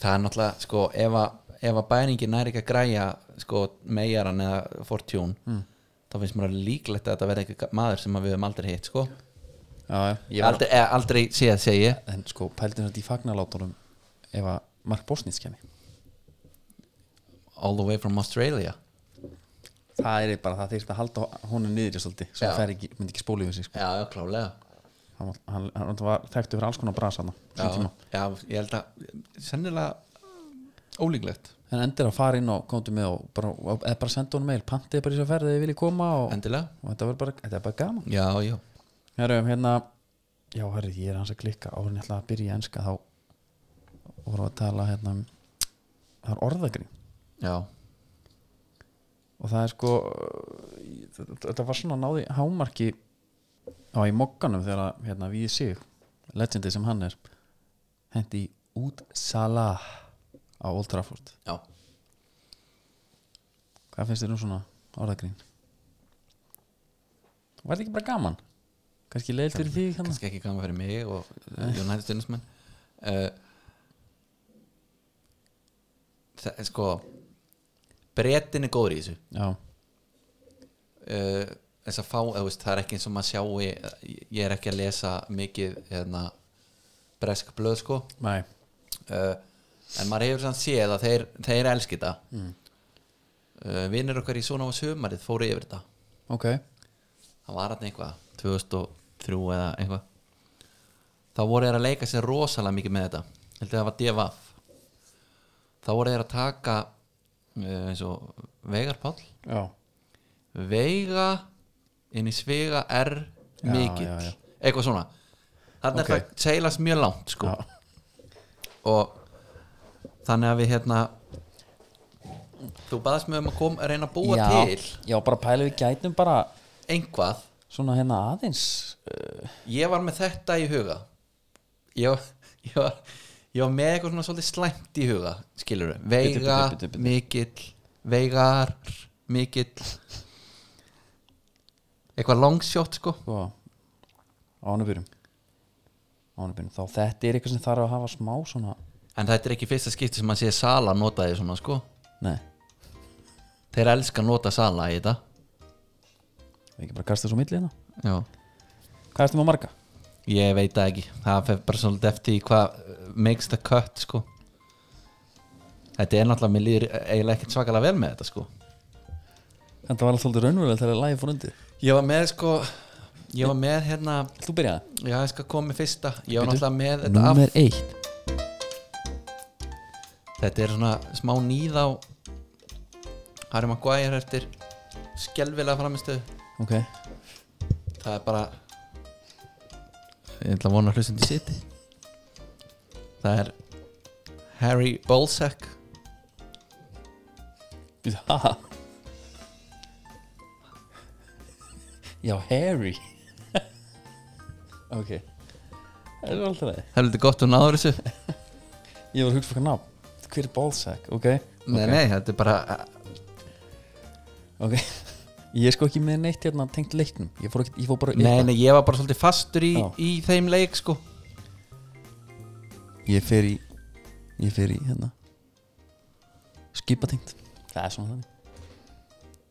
B: það er náttúrulega sko ef að, ef að bæningin næri ekki að græja sko meigjaran eða Fortune þá finnst mér alveg líklegt að þetta verði eitthvað maður sem að við höfum aldrei hitt sko
A: Já, já
B: aldrei, eða, aldrei séð segi ég
A: En sko, pældum þetta í fagnalátunum ef að Mark Bosnitz kemi
B: all the way from Australia
A: Það er bara það þeirst að halda honum niður í svolítið svo
B: Já.
A: hann fer ekki, myndi ekki spóla yfir sig sko.
B: já, já, klálega
A: hann, var- hann, hann var þekktu fyrir alls konar brasa hann
B: já, já, ég held að sennilega ólíklegt
A: En endur að fara inn og komdu með og bara, og- eða bara senda honum mail, pantið bara í svo ferðið ég vilji koma og,
B: endilega,
A: og þetta var bara, þetta er bara gaman
B: já, já
A: Herru, hérna Já, herri, ég er hans að klikka árin ég ætla að byrja í enska þá voru að tala hérna um það er orðagrín
B: já,
A: og það er sko uh, þetta- þetta var svona náði hámarki á í mokkanum þegar að, hérna við sig, legendi sem hann er hendi út Salah á Old Trafford
B: já
A: Hvað finnst þér um svona orðagrín? Var þetta ekki bara gaman? Kannski leil fyrir því hérna?
B: kannski ekki gaman fyrir mig og uh, United Stunismenn uh, það er sko brettin er góður í þessu
A: Já,
B: uh, þess að fá, eða, veist, það er ekki eins og maður sjái ég- ég er ekki að lesa mikið hérna, bresk blöð sko
A: nei
B: uh, en maður hefur sann séð að þeir, þeir elski þetta mm. uh, vinnir okkar í svona á sömarið fóru yfir þetta
A: Ok,
B: það var hann eitthvað 2003 eða eitthvað þá voru þeir að leika sér rosalega mikið með þetta heldur það var devaf þá voru þeir að taka uh, eins og Veigar Páll
A: já
B: Veiga inn í Svega R
A: Já,
B: mikill
A: já, já.
B: eitthvað svona
A: Ok.
B: þannig okay. er það seilast mjög langt sko.
A: Já.
B: og þannig að við hérna þú baðast mig um að kom, reyna að búa
A: já,
B: til
A: já, bara pæla við gætum bara
B: einhvað
A: svona hérna aðeins uh,
B: ég var með þetta í huga ég, var- ég, var, ég var með eitthvað svona svolítið slæmt í huga skilur við, veiga,
A: Bíddu, bíddu, bíddu, bíddu.
B: mikill veigar, mikill eitthvað longshot sko
A: sko ánubýrum ánubýrum um. þá þetta er eitthvað sem þarf að hafa smá svona
B: en þetta er ekki fyrsta skipti sem maður sé Sala nota því svona sko
A: nei,
B: þeir elska að nota Sala í þetta
A: við ekki bara kasta þessu á milli hérna
B: já.
A: hvað erstu með marga?
B: ég veit það ekki það fer bara svolítið eftir í hvað uh, makes the cut sko þetta er náttúrulega mér líður eiginlega ekkert svakalega vel með þetta sko
A: þetta var alltaf svolítið raunverulega þegar lagið fór undir
B: ég var með sko ég var með hérna
A: Vilt þú byrjaði?
B: já ég skal koma með fyrsta ég var
A: Bíddu.
B: náttúrulega með þetta af
A: Númer eitt
B: Þetta er svona smá nýð á Harry Maguire eftir skelvilega framistöðu
A: ok,
B: Það er bara Ég ætla að vona hlustundi siti Það er Harry Bolsack
A: býttu, haha já, Harry ok það er alltaf leið
B: Helviti gott hún náður þessu
A: ég var að hugsa fyrir nafn hver er Balzac, ok
B: Nei,
A: Ok.
B: nei, þetta er bara eh,
A: ok ég er sko ekki með neitt hérna tengt leiknum ég fór, ekki, ég fór bara
B: Nei, nei, ég var bara svolítið fastur í,
A: Já.
B: í þeim leik sko
A: ég fer í ég fer í hérna skipatengt það er svona þannig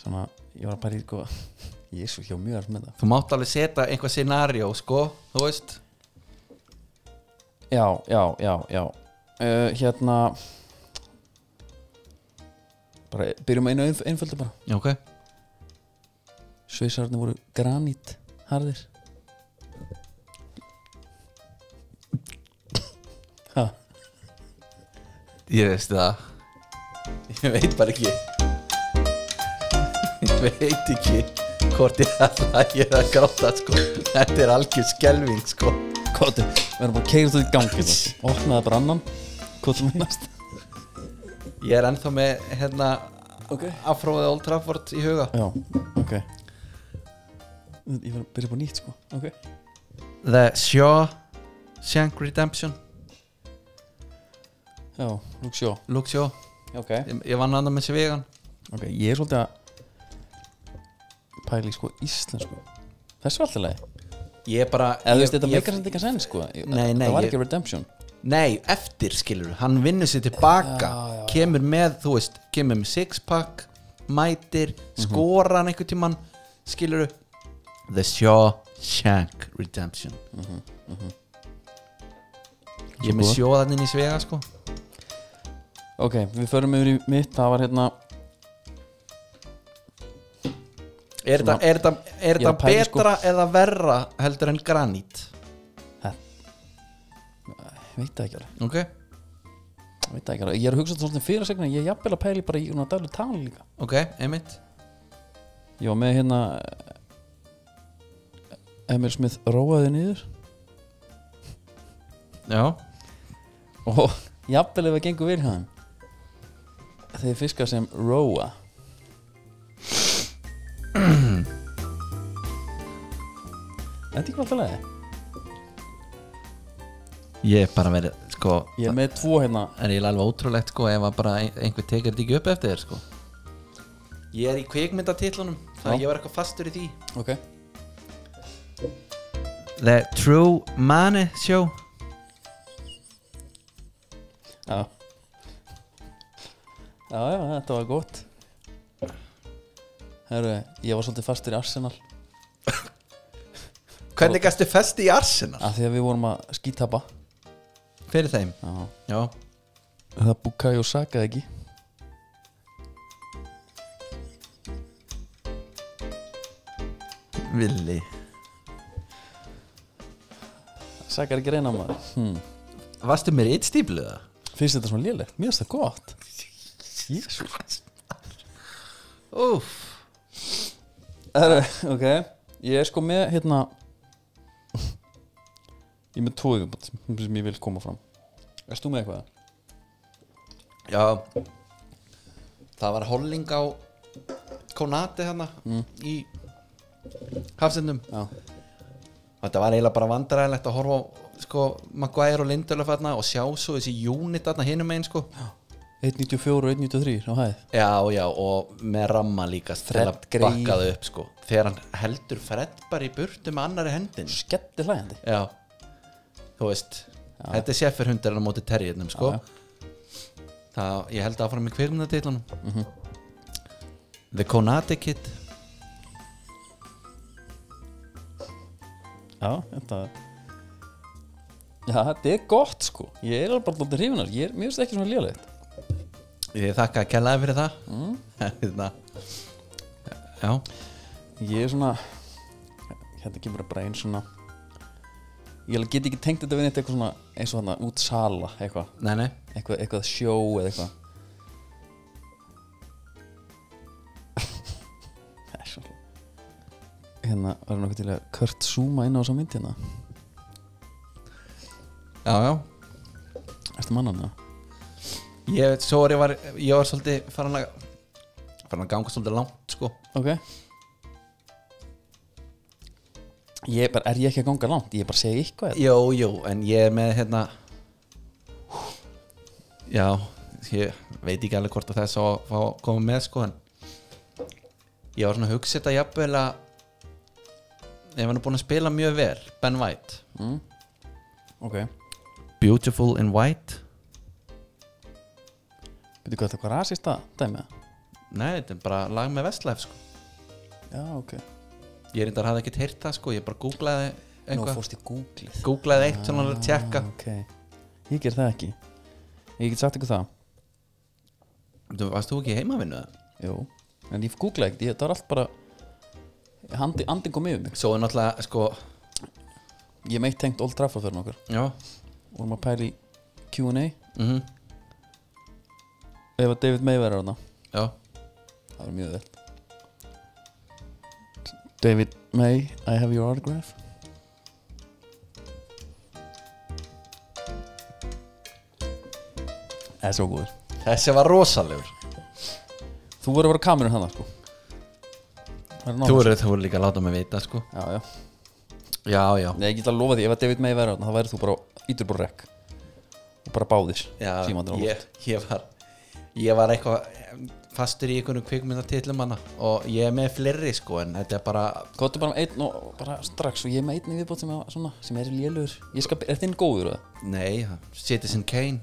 A: svona ég var bara í sko [laughs] ég er svo hjá mjög alveg með
B: Þú mátt alveg setja einhvað scenario sko Þú veist
A: það já, já, já, já uh, hérna bara byrjum að einu einf- einföldu bara
B: Ok
A: Sveisararnir voru granít harðir Ha,
B: Ég veist það [laughs] Ég veit bara ekki [laughs] Ég veit ekki hvort ég ætla að ég er að gráta sko Þetta er algjör skelving sko
A: kóti Við erum bara keirist út í gangi hérna. Opnaði bara annan Kóti minnast
B: Ég er ennþá með hérna
A: Ok.
B: Afróðið Old Trafford í huga
A: Já, ok Ég var að byrja bara nýtt sko Ok
B: The Shaw Shank Redemption
A: Já, Luke Shaw
B: Luke Shaw
A: Ok
B: Ég, ég vann andan með sér vegan
A: Ok, ég er svolítið að pæla í sko íslensku Þessu var alltaf leið
B: Ég bara
A: Eða þú
B: ég-
A: veist, þetta
B: ég-
A: meikar þetta ekki að senn sko
B: Nei, nei,
A: Það var
B: ég-
A: ekki redemption
B: Nei, eftir skilur Hann vinnur sér tilbaka
A: Já, já, já.
B: Kemur með, þú veist, kemur með sixpack Mætir,
A: Mhm.
B: skorar hann einhvern tímann Skilur The Shawshank Redemption Ég er með
A: Sko.
B: sjóðaninn í svega sko
A: Ok, við förum yfir í mitt Það var hérna
B: Er
A: Svona-
B: þetta- er þetta er
A: Ég er að
B: þetta
A: pæla, sko.
B: betra eða verra heldur en granít?
A: Ég veit það ekki alveg
B: Ok,
A: Ég veit það ekki alveg, ég er að hugsa þetta svona fyrir segna ég er jafnvel að pæli bara í svona dælu tali líka
B: ok, einmitt
A: ég var með hérna eh, Emil Smith róaði niður
B: Já,
A: og [laughs] jafnvel ef það gengur vel hjá þeim þeir fiska sem róa Þetta er ekki alltaf leið
B: ég er bara verið sko
A: Ég er með tvo hérna
B: Það er eiginlega alveg ótrúlegt sko ef að bara ein- einhver tekir þetta ekki upp eftir þér sko Ég er í kvikmyndatitlunum
A: þannig að ég
B: var eitthvað fastur í því
A: Ok
B: The True Money Show
A: Já Já, já, þetta var gott Herru, ég var svolítið fastur í Arsenal
B: Hvernig gæstu festi í Arsenal?
A: að því að við vorum að skítapa
B: Ah, Fyrir þeim
A: Já.
B: Já
A: það Bukayo Saka ekki
B: Villi
A: Saka er ekki reyna [laughs] maður hmm.
B: Varstu mér eitt stípluða?
A: finnst þetta svona lélegt, mér finnst það gott Jésús
B: Úf
A: ok, ég er sko með hérna ég er með tvo yfirbútt sem ég vil koma fram erst þú með eitthvað?
B: Já Það var holling á Konati hana í Hafsendum
A: Já.
B: Þetta var eiginlega bara vandræðilegt að horfa á sko Maguire og Lindelöf þarna og sjá svo þessi unit þarna hinum einn sko
A: 1.94 og 1.93 á hæð
B: Já, já, og með ramma líka til
A: Fred
B: að
A: Grey.
B: bakka þau upp sko þegar hann heldur Fred bara í burtu með annari hendin
A: Skellir hlægandi
B: Já, þú veist þetta er séffir hundarinn á móti terjirnum sko
A: Já,
B: Það, ég held áfram í kvirmundatitlanum mm
A: Mhm.
B: The Konate Kid
A: Já, þetta Já, þetta er gott sko Ég er alveg bara lótið hrifinar Ég er, mér finnst ekki svona lélegt
B: Ég þakka að kellaði fyrir það
A: Mm.
B: [laughs] Hérna Já,
A: Ég er svona Hérna kemur að bara einn svona Ég alveg get ekki tengt þetta við neitt eitthvað svona eins og þarna út sala eitthvað
B: nei, nei
A: eitthvað, eitthvað sjó eða eitthvað Það er svo Hérna var nokkuð til að Kurt Zuma inn á þessa mynd hérna
B: Já, já
A: Ertu mann hann
B: Ég, svo er ég var, ég var svolítið farin að farin að ganga svolítið langt sko
A: Ok Ég er bara, er ég ekki að ganga langt? Ég er bara að segja eitthvað hérna.
B: Jó, jó, en ég er með hérna Já, ég veit ekki alveg hvort að þess að fá að koma með sko en ég var svona að hugsa þetta jafnvel að ef hann er búin að spila mjög vel Ben White
A: mm. Ok
B: Beautiful in White
A: Veitu hvað þetta er hvað rasista dæmi það?
B: Nei, þetta er bara lag með Vestlæf sko
A: Já, ok
B: Ég reyndar hafði ekkert heyrt það sko, ég bara googlaði
A: Nú
B: eitthvað
A: fórst í Googlið
B: Googlaði eitt svona að tjekka
A: Ok Ég ger það ekki Ég get sagt ykkur það
B: Þú varst þú ekki í heimavinnu það?
A: Jú En ég googlaði ekkert, ég- það var allt bara Handi, andin kom yfir mig
B: Svo er náttúrulega sko,
A: Ég meitt tengt Old Trafford fyrir nokkur
B: já
A: Vorum að pæla í Q&A
B: mm
A: Ef að David May verður þarna
B: Já,
A: Það var mjög vel David May, I have your autograph Það er svo góður
B: þessi var rosalegur
A: Þú voru að vera kamerun hann sko Það er
B: Þú
A: náttúrulega
B: verður þú verður líka að láta mig vita sko
A: Já, já
B: Já, já
A: Nei, ég get að lofa því Ef að David May verður þarna þá væri þú bara Ítur bara rekk Og bara báðir
B: Já,
A: Símandir á
B: ég,
A: loft
B: ég var ég var eitthvað em, fastur í einhvern kvikmyndatitlum hana og ég er með fleiri sko en þetta er bara
A: Kóttu bara með einn og og bara strax Og ég er með einn í viðbót sem, er svona, sem er lélur Ég skal Er þetta einn góður eða?
B: nei, Citizen Kane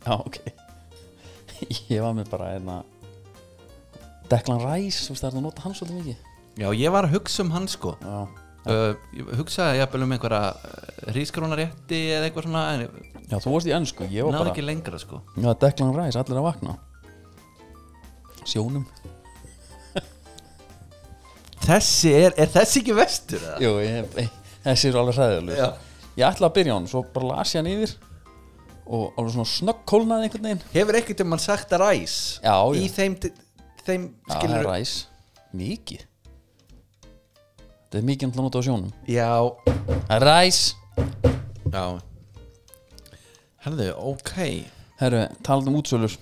A: Já, ok [laughs] Ég var með bara einna Declan Rice, þú veist, það er það að nota hann svolítið mikið
B: Já, ég var að hugsa um hann sko
A: Já,
B: uh, ég hugsaði jafnvel um einhverja rískrónarétti eða eitthvað svona en ég
A: já þú varst í ennsku, ég var
B: náði
A: bara
B: ekki lengra sko
A: Já, Declan Rice, allir að vakna Sjónum
B: Þessi, er, er þessi ekki vestur eða?
A: Jú, ég, ég, þessi eru alveg hræðileg
B: Já.
A: Ég ætla að byrja á hann, svo bara las ég hann yfir Og alveg svona snöggkólnaði einhvern veginn
B: Hefur ekkert um hann sagt að ræs
A: Já, já.
B: í þeim, di- þeim
A: Já, það
B: skilur
A: er Rice, mikið Þetta er mikið náttúrulega nota á sjónum
B: Já,
A: Rice
B: Já Herðu, ok
A: Herru, talað um útsölur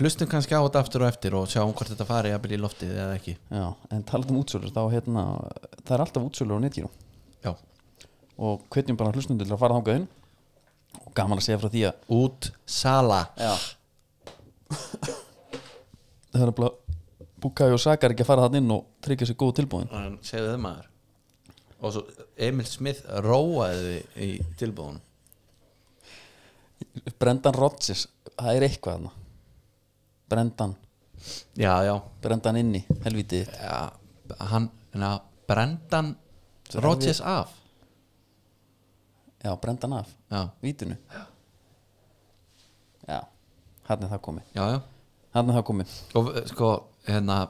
B: Hlustum kannski á þetta aftur og eftir og sjáum hvort þetta fari að byrja í loftið eða ekki
A: Já, en talað um útsölur, þá hérna Það er alltaf útsölur á netgírum
B: Já
A: og hvetjum bara hlustundur til að fara þangað inn og gaman að segja frá því að
B: Út sala
A: Já. það er bara Bukai og Sakar ekki að fara þann inn og tryggja sér góð tilbúin
B: En Segðu þau maður Og svo Emil Smith róaði þig í tilbúðun
A: Brendan Rodgers, það er eitthvað þarna Brendan,
B: Já, já
A: Brendan inni, helviti þitt.
B: Já, hann, na, Brendan Rodgers af
A: Já, Brendan af,
B: Já,
A: vítinu Já, hann er það komið
B: já, já
A: hann er það komið
B: Og eh, sko, hérna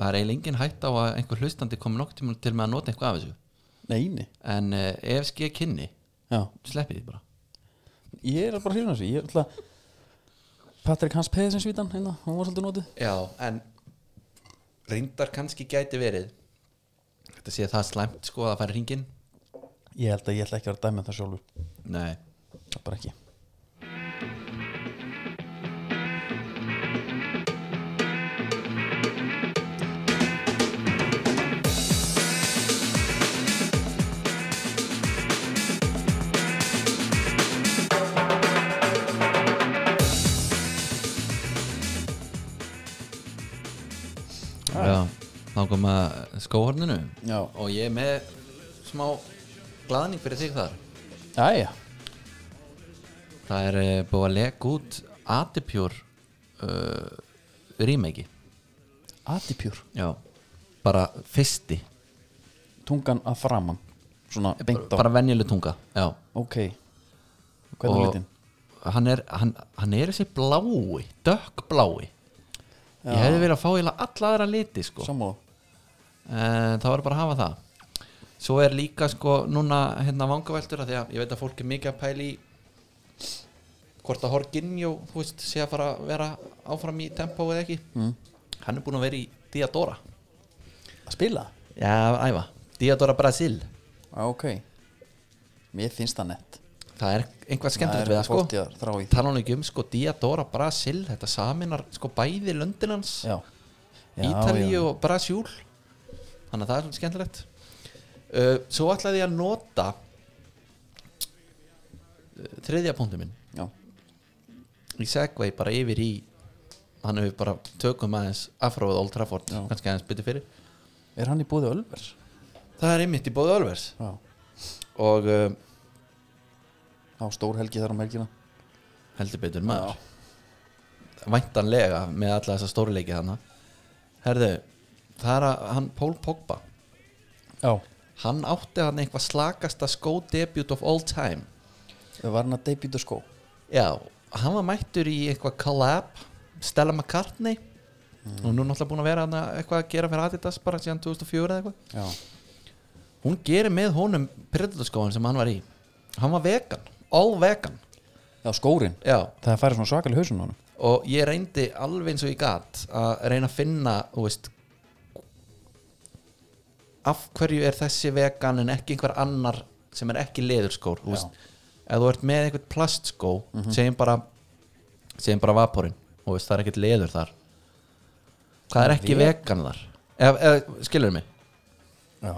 B: Það er eiginlega engin hætt á að einhver hlustandi komi nokkuð tíma til með að nota eitthvað af þessu
A: Neini,
B: En uh, ef skið kynni,
A: já,
B: sleppið því bara
A: ég er bara hrifin af þessu ég er alltaf Patrik Hans Pedersen svítan, hérna, hún var svolítið notið
B: Já, en reyndar kannski gæti verið Þetta sé það slæmt sko að það færi hringin
A: Ég held að ég ætla ekki að vera að dæma það sjálfur
B: Nei
A: Það bara ekki Ah.
B: Já, þá kom að skóhorninu
A: Já.
B: og ég er með smá glaðning fyrir þig þar
A: Æja,
B: það er eh, búið að leka út Atipjur uh, remake
A: atipjúr
B: Já. bara fyrsti
A: Tungan að framan Svona beint á
B: bara venjuleg tunga Já.
A: Ok Hvernig
B: Og
A: litin?
B: hann er, hann, hann er þessi blái dökkblái ég hefði verið að fá eiginlega alla aðra liti sko.
A: Sammála
B: en það var Eh, bara að hafa það svo er líka sko núna hérna vangaveldur að því að ég veit að fólk er mikið að pæli hvort að Horginjó þú veist sé að fara að vera áfram í tempo eða ekki mm. hann er búin að vera í Diadora
A: Að spila?
B: já, æfa, Diadora Brasil
A: Já, ok Mér finnst það nett
B: það er einhvað skemmtilegt
A: er
B: við það sko
A: fortíðar þrá í.
B: tala hann ekki um sko Diadora Brasil þetta saminar sko bæði Lundinans
A: Já, Já,
B: Ítalíu
A: já.
B: og Brasjúl þannig að það er svona skemmtilegt uh, svo ætlaði ég að nota uh, þriðja punktum minn
A: Já,
B: í segvei bara yfir í þannig að við bara tökum aðeins afróið Old Trafford,
A: Já.
B: kannski aðeins bytti fyrir
A: er hann í búði Ölvers?
B: það er einmitt í bóðu Ölvers
A: Já,
B: og uh,
A: á stór helgi þar um helgina
B: heldur betur maður væntanlega með alla þessa stórleiki þannig herðu, það er að hann Pól Pogba
A: Já
B: hann átti hann eitthvað slakasta skódebut of all time
A: Það var hann að debuta skó
B: Já, hann var mættur í eitthvað collab Stella McCartney og nú er náttúrulega búin að vera hana, eitthvað að gera fyrir Adidas bara síðan 2004 eða eitthvað
A: Já,
B: hún gerir með honum predatorskóin sem hann var í hann var vegan, all vegan
A: Já skórin
B: Já,
A: Það færi svona svakalega hausun á hann
B: og ég reyndi alveg eins og ég gat að reyna að finna þú veist af hverju er þessi vegan en ekki einhver annar sem er ekki leðurskór þú veist, ef þú ert með einhvern plastskó segjum bara segjum bara vaporinn, þú veist, það er ekkert leður þar hvað er ekki vegan þar ef, ef, skilur mig
A: Já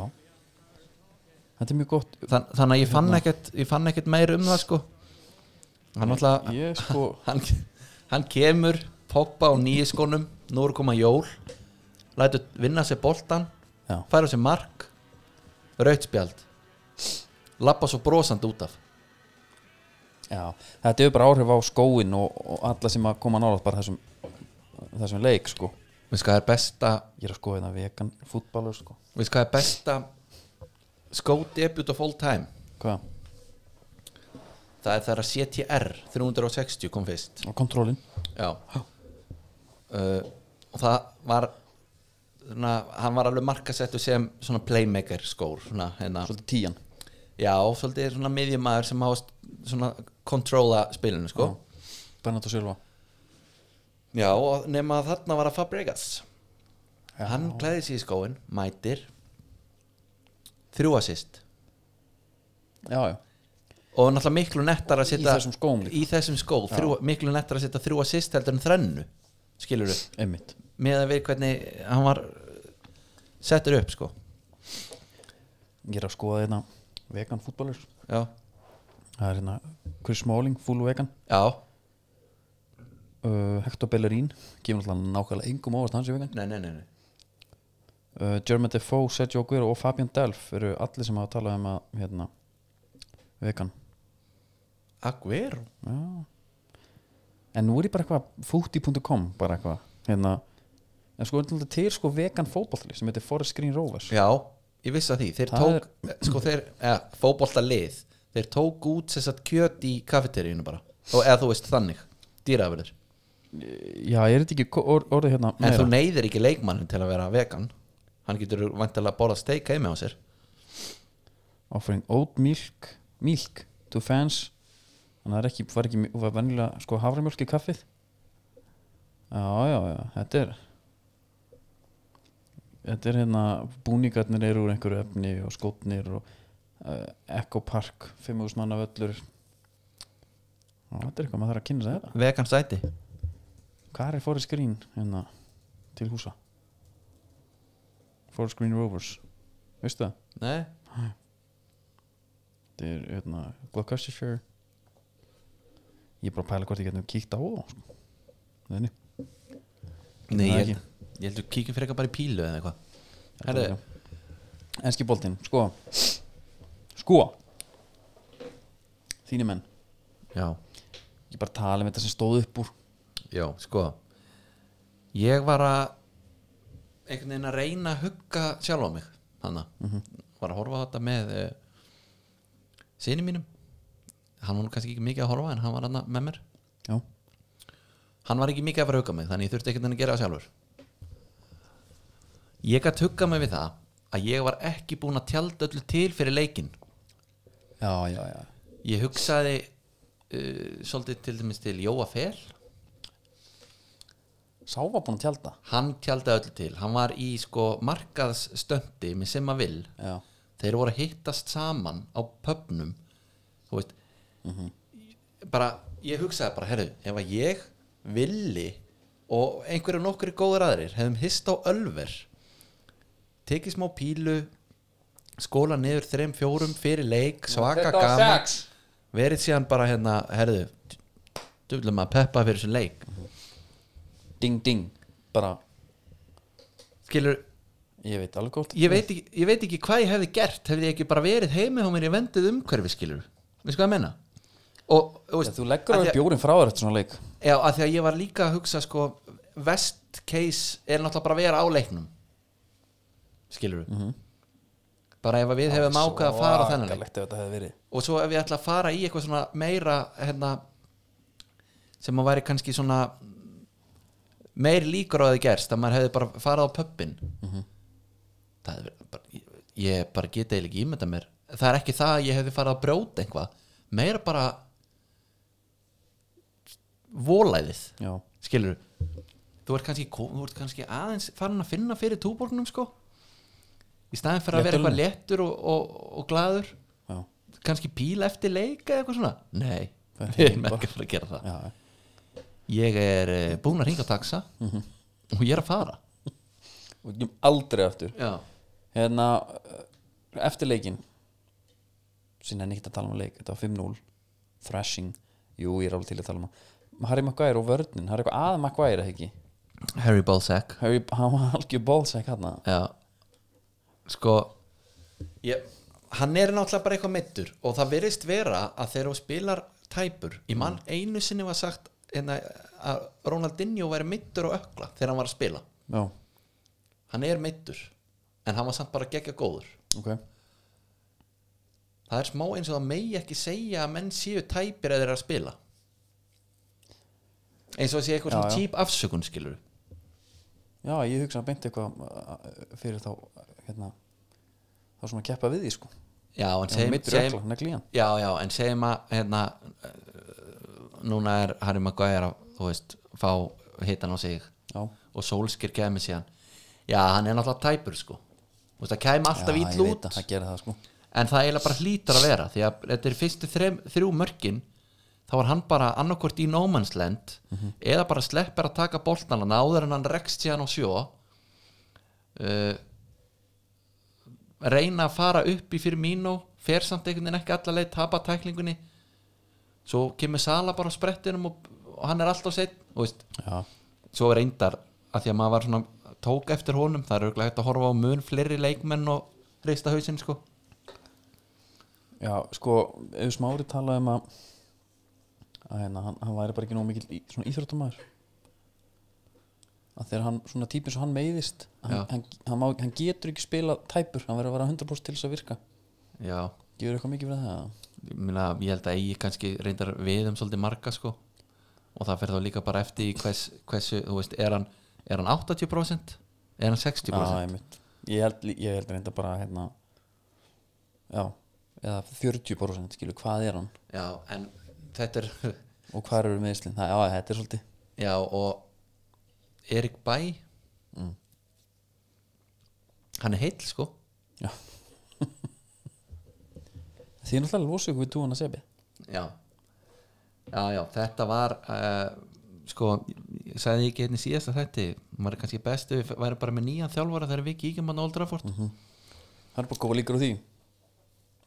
A: Þetta er mjög gott
B: Þann, þannig að ég fann ekkert ég fann ekkert meir um það sko hann alltaf
A: Ég sko
B: hann, hann kemur poppa á nýju skónum nú er koma jól lætur vinna sér boltan
A: [laughs] Já.
B: færa sér mark rautspjald lappa svo brosandi út af
A: Já, þetta hefur bara áhrif á skóin og, og alla sem að koma nála bara þessum, þessum leik sko
B: við hvað er besta
A: Ég er að skoða þetta vegan fútbalur sko
B: við hvað er besta skódebut of all time
A: Hvað?
B: það er það að CTR 360 kom fyrst
A: Og kontrolin
B: já uh, og það var svona, hann var alveg markasettu sem svona playmaker skór svona, hérna,
A: Svolítið tíjan
B: Já, svolítið svona miðjumæður sem hást svona kontróla spilinu sko
A: Bernardo Silva
B: Já, og nema að þarna var að Fabregas Hann klæði sig í skóin, mætir þrjú assist
A: Já, já
B: og náttúrulega miklu nettar að
A: Í
B: setja
A: þessum skóm líka.
B: í þessum skó, þrjú, miklu nettar að setja þrjú assist heldur en þrennu, skilur við
A: Einmitt
B: með að við hvernig hann var settur upp sko
A: Ég er að skoða þetta vegan fútbalur
B: Já,
A: Það er hérna Chris Smalling, full vegan
B: já,
A: uh, Hector Bellerín Kemur alltaf nákvæmlega engum óvast hans í vegan
B: nei, nei, nei, nei.
A: uh, Jermaine Defoe, Sergio Aguero og Fabian Delf Eru allir sem hafa talað um að hérna, Vegan
B: Aguero
A: Já. En nú er ég bara eitthvað fúti.com bara eitthvað hérna, en sko er þetta til sko vegan fótballtlið sem heitir Forest Green Rovers
B: Já, ég vissi að því Þeir
A: Það
B: tók, sko þeir, eða, fótbolta lið Þeir tók út þess að kjöt í kafeteríinu bara og, Eða þú veist þannig, dýraafurður
A: Já, er þetta ekki ko- or, orðið hérna
B: En þú neyðir ekki leikmannin til að vera vegan Hann getur vantilega að bóla steik heimi á sér
A: offering oat milk milk to fans þannig að það er ekki, var ekki, var venjulega sko haframjölk í kaffið Já, já, já, þetta er þetta er hérna búningarnir eru úr einhverju efni og skotnir og uh, Echo Park 5.000 manna völlur Já, þetta er eitthvað maður þarf að kynna sér þetta
B: Vegan sæti
A: Hvað er Forest Green hérna til húsa? Forest Green Rovers Veistu það?
B: Nei,
A: Þetta er hérna Gloucestershire Ég er bara að pæla hvort ég getum kíkt á það sko. Nei, nei. Það
B: Nei ég,
A: ekki.
B: ég heldur kíkjum fyrir eitthvað bara í pílu eða eitthvað Herri,
A: Enski boltinn, sko Sko Þínu menn
B: já,
A: Ég bara tala um þetta sem stóð upp úr
B: já, sko ég var að einhvern veginn að reyna að hugga sjálf á mig þannig, var að horfa á þetta með uh, sinni mínum hann var nú kannski ekki mikið að horfa en hann var hann með mér
A: Já,
B: hann var ekki mikið að fara að hugga mig þannig ég þurfti ekkert að gera það sjálfur ég gætt hugga mig við það að ég var ekki búin að tjálda öllu til fyrir leikinn
A: já, já, já.
B: ég hugsaði uh, svolítið til dæmis til Jóa Fel
A: Sá var búin að tjálta
B: hann tjáldaði öllu til, hann var í sko markaðsstöndi með sem að vil
A: Já,
B: þeir voru að hittast saman á pöpnum þú veist bara, ég hugsaði bara, herru, ef að ég villi og einhverjum nokkur góður aðrir hefum hist á ölver tekið smá pílu skóla niður þreim fjórum fyrir leik, svaka gaman verið síðan bara hérna, herru duðlum að peppa fyrir þessu leik
A: ding, ding Bara,
B: skilur,
A: ég veit alveg gótt
B: ég veit, ekki, ég veit ekki hvað ég hefði gert hefði ég ekki bara verið heimi á mér í vendið umhverfi skilur, við sko að menna og, og
A: Þú leggur
B: að
A: alveg
B: því að,
A: bjórin frá þér eftir svona leik
B: já, að því að ég var líka að hugsa sko, vest case er náttúrulega bara að vera á leiknum skilur
A: Mhm.
B: bara ef að við hefum ákveð að fara á þennan leik
A: Svakalegt ef þetta hefði verið
B: og svo ef ég ætla að fara í eitthvað svona meira hérna, sem að væri kannski svona meir líkur á að það gerst að maður hefði bara farað á pöppin það hefði verið- bara, ég, ég bara geta eiginlega ekki ímynda mér það er ekki það að ég hefði farað að brjóta eitthvað meira bara volæðið
A: Já,
B: skilur þú ert kannski, ko- þú ert kannski aðeins farin að finna fyrir túborgnum sko í staðin fyrir að vera eitthvað léttur og, og, og glaður
A: já,
B: kannski píla eftir leika eða eitthvað svona nei,
A: Það er
B: við erum ekki að fara að gera það
A: já
B: ég er eh, búinn að ringa taxa
A: Mhm.
B: og ég er að fara
A: Og ég kem aldrei aftur
B: já,
A: Hérna, eh, eftir leikin Sinna nýtt að tala um leik Þetta var 5-0 Thrashing Jú, ég er alveg til að tala um hann. Harry Maguire og vörnin Það er eitthvað að Maguire, eða ekki
B: Harry Balzac
A: Harry, hann var algjör bólsæk hann
B: já, sko ég, hann er náttúrulega bara eitthvað meittur og það virðist vera að þegar þú spilar tæpur í mann einu sinni var sagt hérna, að Ronaldinho væri meittur og ökla þegar hann var að spila
A: Já,
B: hann er meittur en hann var samt bara geggja góður
A: ok
B: það er smá eins og það megi ekki segja að menn séu tæpir eða þeir eru að spila eins og það sé eitthvað
A: Já,
B: svona
A: já.
B: típ afsökun skilur
A: Já, ég hugsa að beint eitthvað uh, fyrir þá hérna, þá sem að keppa við því sko
B: já en
A: Sem
B: segjum,
A: mittur
B: segjum
A: ökla, negli hann
B: já já en segjum að hérna eh, núna er Harry Maguire að þú veist fá hitan á sig
A: Já,
B: og Solskir kemur síðan já hann er náttúrulega tæpur sko þú veist það kem
A: Já,
B: alltaf íll
A: ég veit
B: út
A: að það gera það sko
B: en það eiginlega bara hlýtur að vera því að þetta er fyrstu þrem, þrjú mörkin þá var hann bara annarkvort í no man's land eða bara sleppir að taka boltan hann áður en hann rekst síðan á sjó uh, reyna að fara upp í fyrir mínu fer samt einhvern veginn ekki alla leið tapa tæklingunni svo kemur Sala bara á sprettinum og, og hann er alltaf seitt og veist,
A: Já,
B: svo er reyndar að því að maður var svona tók eftir honum það er auðvitað hægt að horfa á mun fleiri leikmenn og reista hausinn sko
A: já sko, ef smári talaði um að að hérna, hann, hann væri bara ekki nóg mikill í, svona íþróttumæður að þegar hann, svona típin svo hann meiðist hann,
B: Já.
A: hann, hann, má, hann getur ekki spila tæpur, hann verður að vera 100% til þess að virka
B: já
A: gefur eitthvað mikið fyrir það eða?
B: ég, meina, ég held að eigi kannski reyndar við um svolítið marga sko og það fer þá líka bara eftir í hvers, hversu þú veist, er hann, er hann 80% er hann 60%
A: Já, einmitt. ég held, lí- ég held reynda bara hérna já, eða 40% skilur, hvað er hann
B: já, en þetta er [laughs]
A: og hvað eru meðslinn, það, já, þetta er svolítið
B: já, og Erik Bæ hann er heill sko
A: já þið er náttúrulega losið ykkur við túan að sebi
B: já, já, já þetta var uh, sko, ég sagði ekki hérna einnig síðast að þetta maður er kannski bestu, við væri bara með nýjan þjálfara þegar við kíkjum hann á Old Trafford
A: það er bara góða líkur á því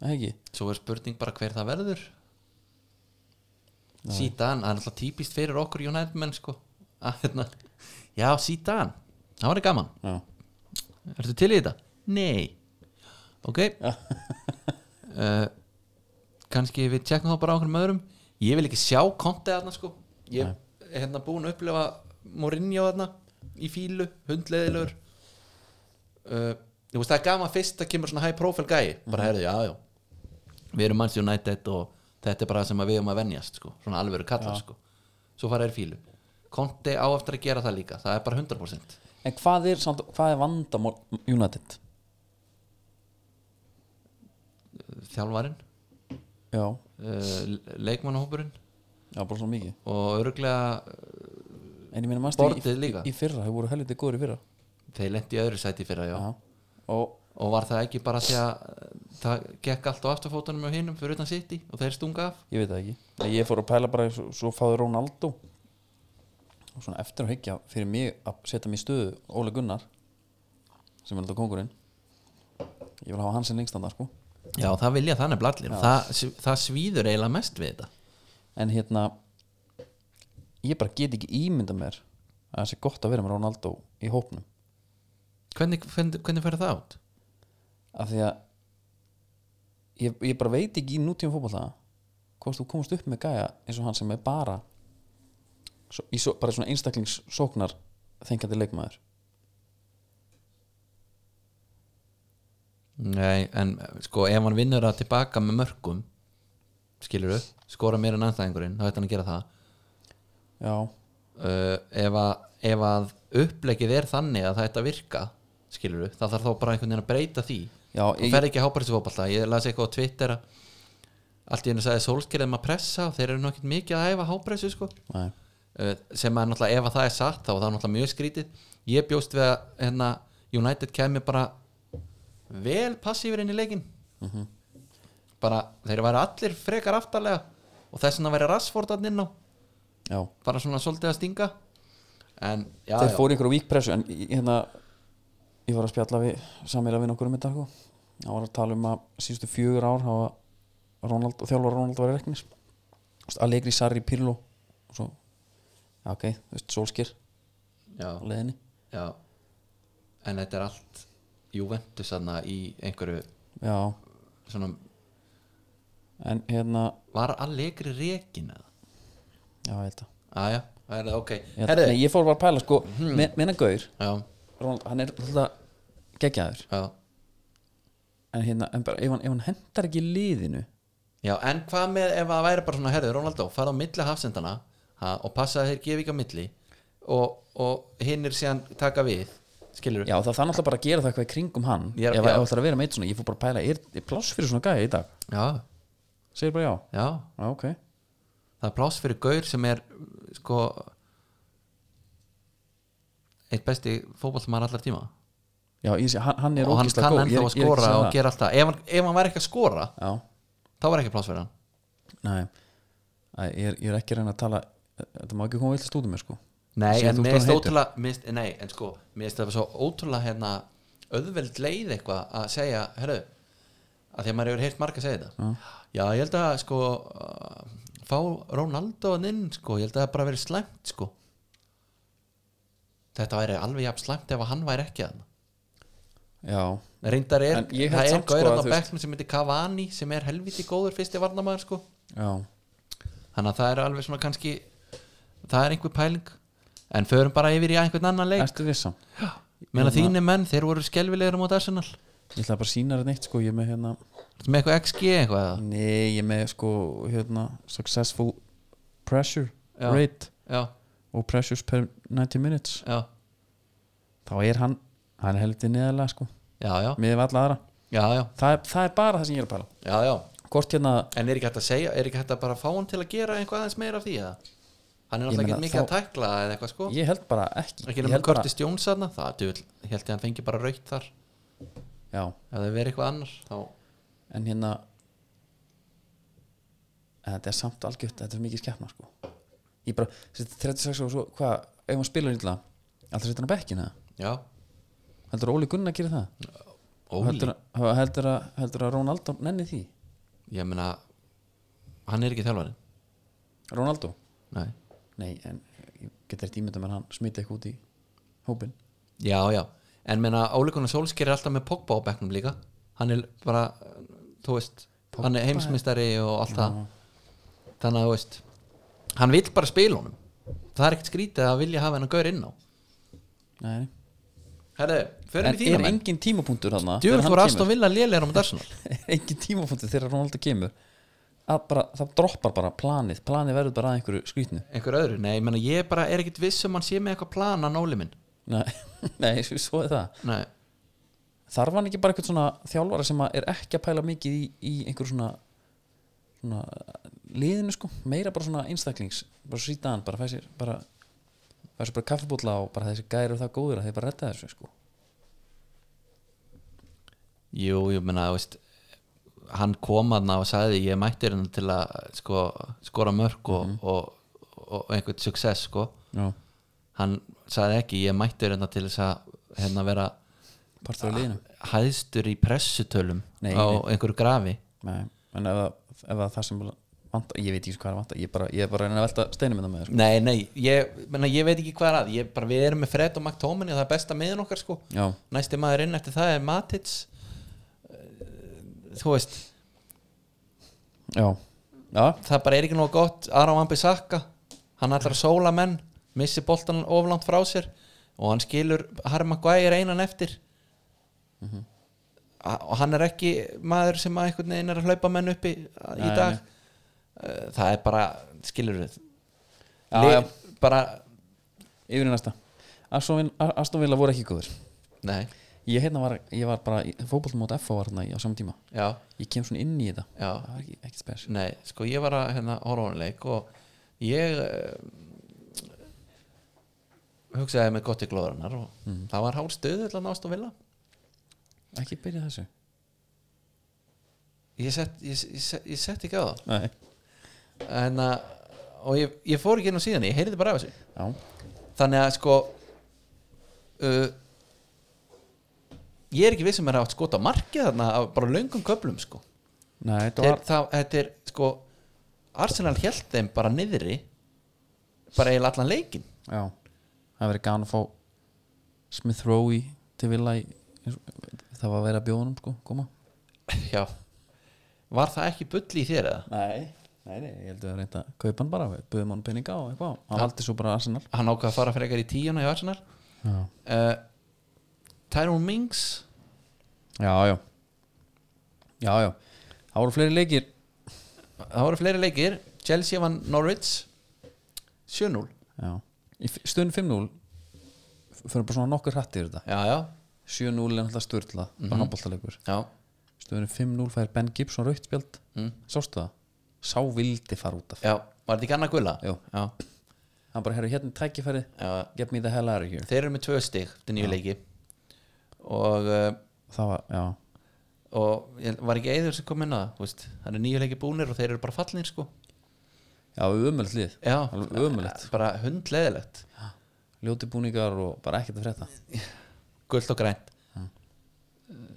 A: það ekki,
B: svo er spurning bara hver það verður Sítan, það er alltaf típist fyrir okkur United menn sko að, hérna. já, Sítan það var gaman,
A: já,
B: ertu til í þetta? Nei Ok uh, Kannski við tjekkum þá bara á einhverjum öðrum Ég vil ekki sjá kontið þarna sko Ég er hérna búin að upplifa Mourinho þarna í fílu hundleiðilur uh, Þú veist það er gaman fyrst að kemur svona high profile gæi bara herðu, já, já Við erum manns United og þetta er bara það sem að við erum að venjast sko, svona alvöru kallar sko Svo fara er fílu Konti á eftir að gera það líka, það er bara 100%
A: en hvað er, samt, hvað er vandamál United?
B: Þjálfarinn
A: Já,
B: uh, leikmannahópurinn
A: já, bara svona mikið
B: og eh, örglega
A: En ég meina mannstu í,
B: Bordið líka.
A: í, í fyrra, þau voru helviti góður í fyrra
B: þeir lendi í öðru sæti fyrir já.
A: Og
B: og var það ekki bara því að uh, það gekk allt á afturfótunum og hinum fyrir utan City og þeir stunga af
A: ég veit það ekki En Ég fór að pæla bara, svo, svo fáðu Ronaldo Og svona eftir að hyggja fyrir mig að setja mig í stöðu Óle Gunnar sem er alltaf kongurinn Ég vil hafa hans sem lengstanda sko
B: já það vilja þannig blallir það, það svíður eiginlega mest við þetta
A: En hérna Ég bara get ekki ímynda mér að það sé gott að vera með Ronaldo í hópnum
B: hvernig, hvernig, hvernig fer það át?
A: af því að ég, ég bara veit ekki í nútíum fótbolta hvort þú komast upp með gæja eins og hann sem er bara svo, í svo, bara svona einstaklingssóknar þengjandi leikmaður
B: Nei, en uh, sko ef hann vinnur það tilbaka með mörgum skilur upp, skora meira en anstæðingurinn þá ætti hann að gera það
A: já,
B: uh, ef, að, ef að upplegið er þannig að það ætti að virka skilur upp, það þarf þá bara einhvern veginn að breyta því
A: já
B: þú
A: ég,
B: fer ekki að hápa þessu fótballta ég las eitthvað á Twitter að allt í hennu sagði sólskerðum að pressa og þeir eru nokkið mikið að æfa hápressu sko.
A: nei,
B: Eh, sem að náttúrulega ef að það er satt þá er það náttúrulega mjög skrítið ég bjóst við að hérna, United kemi bara vel passífur inn í leikin
A: Mhm.
B: bara þeir væri allir frekar aftarlega og þess vegna væri Rashford að inn á
A: já.
B: bara svona svolítið að stinga en já,
A: þeir
B: já,
A: fóru í einhverju víkpressu en ég- hérna ég var að spjalla við samir að vinna okkur um þetta sko. hann var að tala um að síðustu fjögur ár hafa Ronald, þjálfur Ronald var í reknis Allegri, Sarri, Pirlo og svo, já ok, þú veist, Solskir
B: já,
A: á leiðinni
B: já en þetta er allt Juventus þarna í einhverju
A: já,
B: svona,
A: en hérna
B: var allegri rekin eða?
A: já, ég held að
B: aðja, það er það ok
A: ég, held-
B: herðu, Mhm.
A: nei, ég fór bara að pæla sko, mm. menna Gaur
B: já,
A: Ronald, hann er alltaf geggjaður
B: já
A: en hérna, en bara, ef hann, ef hann hendar ekki liðinu
B: já, en hvað með ef það væri bara svona herðu, Ronaldo, fara á milli hafsendana ha, og passa að þeir gefi ekki á milli og, og hinn er síðan taka við skilur
A: já, það þarf alltaf bara að gera það eitthvað í kringum hann
B: Ég er-
A: ef
B: já.
A: það ætlar að vera meitt svona, ég fór bara að pæla er, er pláss fyrir svona gæði í dag,
B: já,
A: segir bara já
B: já
A: já, ok,
B: það er pláss fyrir gaur sem er sko eitt besti fótballmann allar tíma
A: já, ég sé, hann, hann er
B: og hann
A: ógeðslega
B: kann
A: góð, ég er- ég
B: ennþá að
A: er ekki
B: skora
A: segja
B: og
A: það.
B: gera alltaf ef hann, ef hann væri ekki að skora,
A: já,
B: þá var ekki pláss fyrir hann
A: nei Æ, ég er, ég er ekki að reyna að tala þetta má ekki koma villast út um mér sko
B: Nei,
A: Sér
B: en
A: þú ert
B: mér finnst
A: orðinn heitur?
B: ótrúlega mér finnst- Nei, en sko, mér finnst það svo ótrúlega hérna, auðveld leið eitthvað að segja, herru að því að maður hefur heyrt marga að segja þetta Já, ég held að sko uh, fá Ronaldo hann inn sko, ég held að það bara verið slæmt sko Þetta væri alveg jafn slæmt ef að hann væri ekki að
A: já,
B: Reyndar er,
A: En ég held
B: það er
A: samt, sko,
B: gauran
A: að
B: á
A: þú veist-
B: bekknum sem heitir Cavani sem er helviti góður fyrsti varnamaður sko
A: já
B: Þannig að það er alveg svona kannski það er einhver pæling En förum bara yfir í einhvern annan leik
A: ertu um? vissan
B: Meina
A: Hérna-
B: þínir menn, þeir voru skelvilegir á mót Arsenal
A: ég ætla bara að sína þetta neitt sko, ég er með hérna
B: Ertu með eitthvað XG eitthvað eða?
A: Nei, ég er með sko hérna, successful pressure
B: Já.
A: rate
B: Já,
A: og pressures per 90 minutes
B: já,
A: þá er hann, hann er heldur neðalega sko
B: já, já,
A: miðið við alla aðra
B: já, já,
A: það er, það er bara það sem ég er að pæla
B: já, já.
A: hvort hérna,
B: En er ekki hægt að segja, er ekki hægt að bara fá hann til að gera eitthvað aðeins meira af því eða? Hann er
A: Ég
B: náttúrulega
A: meina,
B: ekki mikið
A: þá-
B: að tækla eða eitthvað sko
A: ég held bara ekki
B: Ekki
A: ég
B: nema
A: held bara,
B: Curtis Jones þarna, það duðl, held ég að hann fengi bara raukt þar
A: já,
B: Ef það verið eitthvað annar, þá
A: en hérna en þetta er samt algjöft þetta er mikið skeppna sko ég bara, þessi 36 og svo, hvað ef hann spilar illa, alltaf hérna? setja hann á bekkina
B: Já,
A: heldur Óli Gunnar að gera það
B: Óli,
A: heldur, að- heldur, að, heldur að Ronaldo nenni því
B: ég meina Hann er ekki þjálfarinn
A: Ronaldo?
B: Nei,
A: Nei, en ég get þetta ímynda með hann smita eitthvað út í hópin
B: já, já, en menna álíkunar Solskjær er alltaf með Pogba á bekknum líka hann er bara, þú veist hann er heimsmyndstari og allt það þannig að þú veist hann vill bara spila honum það er ekkert skrítið að vilja hafa henn að gaur inn á
A: Nei.
B: herðu,
A: En
B: förum í
A: er
B: þína menn
A: engin tímapunktur þarna
B: djúvel
A: þegar hann
B: voru
A: kemur?
B: Aston Villa lélegar á um Darsenal
A: [laughs] er engin tímapunktur þegar Ronaldo kemur að bara, það droppar bara planið planið verður bara að einhverju skrýtnu
B: einhver öðru, nei, menna ég bara er ekkert viss um hann sé með eitthvað plana náli minn
A: nei, [laughs] nei, svo- svo er það
B: nei,
A: þarf hann ekki bara eitthvað svona þjálfara sem að er ekki að pæla mikið í, í einhverju svona svona liðinu sko meira bara svona einstaklings bara sýta hann, bara fæsir bara fæsir bara kaffibúlla og bara þessi gæri og það góður að þeir bara redda þessu sko
B: jú, jú, menna, þú veist hann kom aðna og sagði ég mættir hennar til að sko, skora mörg og, og, og, og einhvern success sko
A: já,
B: hann sagði ekki ég mættur hérna til þess að hérna vera
A: partur af liðinu
B: hæðstur í pressutölum
A: Nei,
B: á einhverju grafi
A: nei, en ef, það- ef það er það sem vanta, ég veit ekki hvað er að vanta ég, bara, ég er bara að reyna að velta steinum þetta með sko.
B: Nei, nei, ég, menna, ég veit ekki hvað er að ég, bara, við erum með Fred og McTominay og það er besta miðin okkar sko
A: já,
B: næsti maður inn eftir það er Matits Eh, þú veist
A: já, já
B: það bara er ekki nóg gott Aram Ambisaka hann ætlar að sóla menn missi boltan oflant frá sér og hann skilur Harma Guæir einan eftir
A: Mhm.
B: mm og hann er ekki maður sem að einhvern veginn er að hlaupa menn uppi í
A: Nei,
B: dag Eh, það er bara, skilur við
A: Já,
B: Le-
A: já.
B: bara,
A: yfir í næsta Aston Villa- Aston Villa voru ekki góður
B: nei,
A: ég, hérna var, ég var bara fótbollum mót FH var hérna í- á saman tíma
B: já
A: ég kem svona inn í þetta
B: Já.
A: það var ekki, ekki spes
B: Nei, sko ég var að hérna, horfa á hann leik og ég uh, hugsaði með gott í glóðarinnar og
A: Mhm.
B: það var hár stöð allan ást og vilja
A: ekki byrja þessu
B: ég sett, ég, ég, sett, ég sett ekki á það
A: Nei.
B: en að og ég, ég fór ekki inn á síðan, ég heyrði bara af þessu
A: já,
B: þannig að sko uh, ég er ekki viss um sem er átt skota markið þarna af bara löngum köflum sko
A: Nei, þetta
B: Þeir,
A: var
B: það, þetta er sko Arsenal held þeim bara niðri bara eiginlega allan leikinn [laughs]
A: já, það verið gana að fá Smith Rowe í- til Villa í, það var að vera að bjóðunum sko, koma
B: Já Var það ekki bull í þér eða?
A: nei, nei, nei, ég heldur að reynda að kaupa hann bara, við böðum hann peninga og eitthvað hann valdi svo bara Arsenal
B: Hann ákvað að fara frekar í tíuna í Arsenal
A: já,
B: uh, Tyrone Mings
A: já, já já, já, það voru fleiri leikir
B: Það voru fleiri leikir Chelsea vann Norwich 7-0
A: já, í f- stund 5-0 f- förum bara svona nokkur hrætt yfir þetta
B: Já, já,
A: 7-0 er alltaf styrla mm -hmm. handbóltalegur
B: já
A: stöðunum 5-0 fær Ben Gibson rautt spjald mm. sástu það, sá vildi fara út af
B: Já, var þetta ekki annað gulla?
A: Jú.
B: já,
A: hann bara herru hérna er tækifæri
B: já.
A: get me the hell out of here
B: Þeir eru með tvö stig Þetta er nýju leiki Og, uh,
A: það var, já,
B: og ég- var ekki eður sem kom inn að það þú veist? Það eru nýju leiki búnir og þeir eru bara fallinir sko
A: já ömulegt lið
B: Já,
A: Alveg ömurlegt.
B: Bara hundleðilegt
A: ljóti búningar og bara ekkert að frétta
B: Gullt og grænt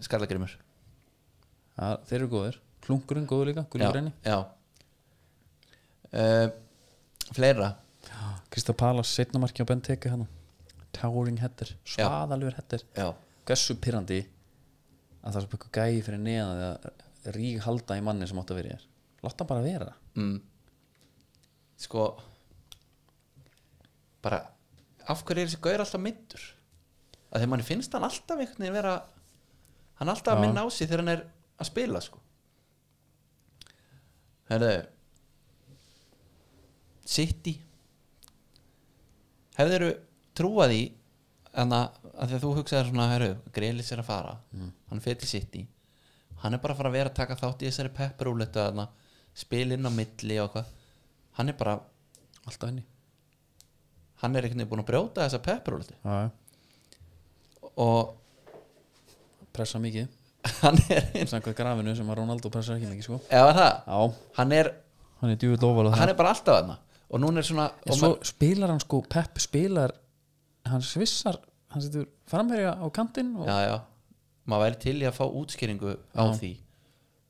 B: Skallagrimur
A: það, þeir eru góðir, klunkurinn góður líka
B: já,
A: Gullurenni,
B: já. Uh, fleira
A: Krista Palas setnamarki á Ben Teke hann towering header,
B: Já.
A: svaðalur header
B: já.
A: hversu pyrrandi að það er svo bara eitthvað gæi fyrir neðan eða rík halda í manni sem átt að vera í þér látt hann bara vera
B: Mm. sko bara af hverju er þessi gaur alltaf middur að þegar manni finnst hann alltaf einhvern veginn vera hann er alltaf að
A: Já.
B: minna á sig þegar hann er að spila sko herðu City hefðiru trúað í en að, að því að þú hugsaðir svona herru, Grelis er að fara hann fer til City hann er bara að fara að vera að taka þátt í þessari pepperúletu að spil inn á milli og hvað hann er bara,
A: alltaf henni
B: hann er einhvern veginn búin að brjóta þessa pepperúletu
A: já, já.
B: og [laughs]
A: pressa [laughs] mikið
B: hann er
A: samkvæð grafinu sem að Ronaldo pressar ekki mikið sko
B: eða það,
A: Já,
B: hann er,
A: hann er djúvill ofal
B: hann er bara alltaf aðna og núna er svona
A: En
B: og
A: svo spilar hann sko, Pep spilar hann svissar, hann setur framherja á kantinn og,
B: já, já, maður væri til í að fá útskýringu á því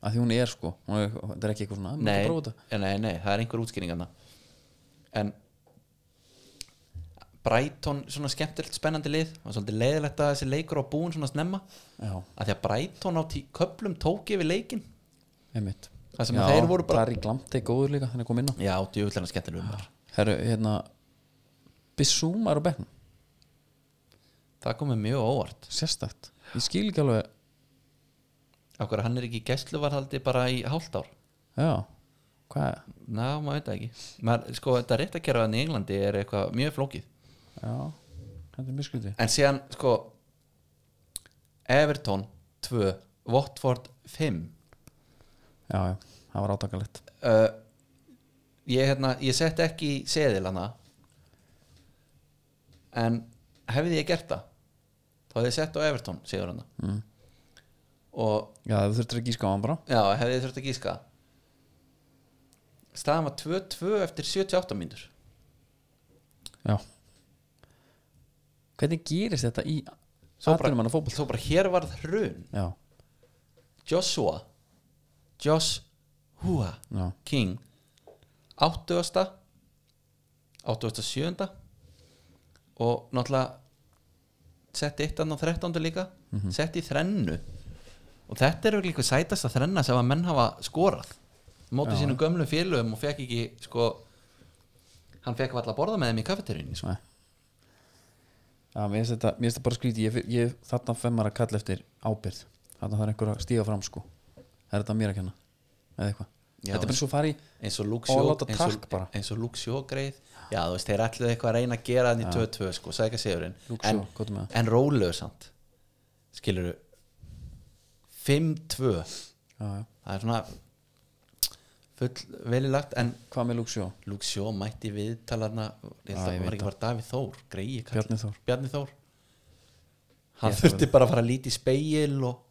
A: að því hún er sko hún er, það er ekki eitthvað svona, maður
B: nei,
A: er að prófa þetta
B: nei, nei, það er einhver útskýring þarna. en Brighton svona skemmtilegt spennandi lið það var svolítið leiðilegt að þessi leikur á búin svona snemma
A: já,
B: að því að Brighton á tí, köplum tók yfir leikin
A: einmitt
B: það sem
A: já,
B: já, þeir voru bara
A: Darri Glamti er góður líka, hann er komið inn á
B: já, djúvillega skemmtilegum var
A: Herru, hérna Bissúm er á bekknum,
B: það komið mjög óvart
A: sérstakt Ég skil ekki alveg,
B: af hverju hann er ekki í gæsluvarhaldi bara í hálft ár
A: já Hvað er,
B: Ná, maður veit það ekki maður, sko, þetta réttakerfaðan í Englandi er eitthvað mjög flókið
A: já Þetta er mjög skrítið
B: en síðan, sko Everton 2 Watford 5
A: Já, já, það var átakalegt
B: uh, ég, hérna, ég sett ekki í seðil hana en hefði ég gert það þá hefði ég sett á Everton seður hana
A: mm.
B: og
A: Já, þú þurftir ekki skáðan bara
B: já, hefði ég þurft að gíska staðan var 2-2 eftir 78 mínútur
A: Já Hvernig gerist þetta í
B: Svo bara-
A: Atvinnum hann að fótboll
B: svo bara hér varð hrun
A: Já,
B: Joshua Joshua
A: já,
B: King 80. 87. og náttúrulega setti eitt annan 13. líka
A: Mhm.
B: setti í þrennu og þetta er líka sætasta þrenna sem að menn hafa skorað mótið sínum gömlu félögum og fekk ekki sko hann fekk varla að borða með þeim í kafeteríunni sko.
A: svona Já, mér finnst þetta, mér finnst þetta bara skrítið ég, ég, Þarna fem maður að kalla eftir ábyrð Þarna þarf einhver að stíga fram sko Það er þetta mér að kenna Eða eitthvað
B: Já,
A: Þetta er bara svo farið í
B: eins og
A: Og
B: Luxjó
A: láta
B: eins og,
A: takk bara.
B: eins og Luxjó greið já þú veist þeir ætluðu eitthvað að reyna að gera þannig 2-2 sko, sækja sigurinn
A: Luke
B: en,
A: Shaw, hvað er með það?
B: en rólegur samt skilur 5-2
A: Já, já.
B: það er svona full velilagt en
A: Hvað með Luke Sjó?
B: Luxjó mætti viðtalarna ég
A: Já, ég
B: held að það var
A: veit
B: ekki bara Davíð Þór greiði kall-
A: Bjarni Þór. [laughs]
B: Bjarni Þór hann
A: Ég
B: þurfti bara að fara að líti í speil og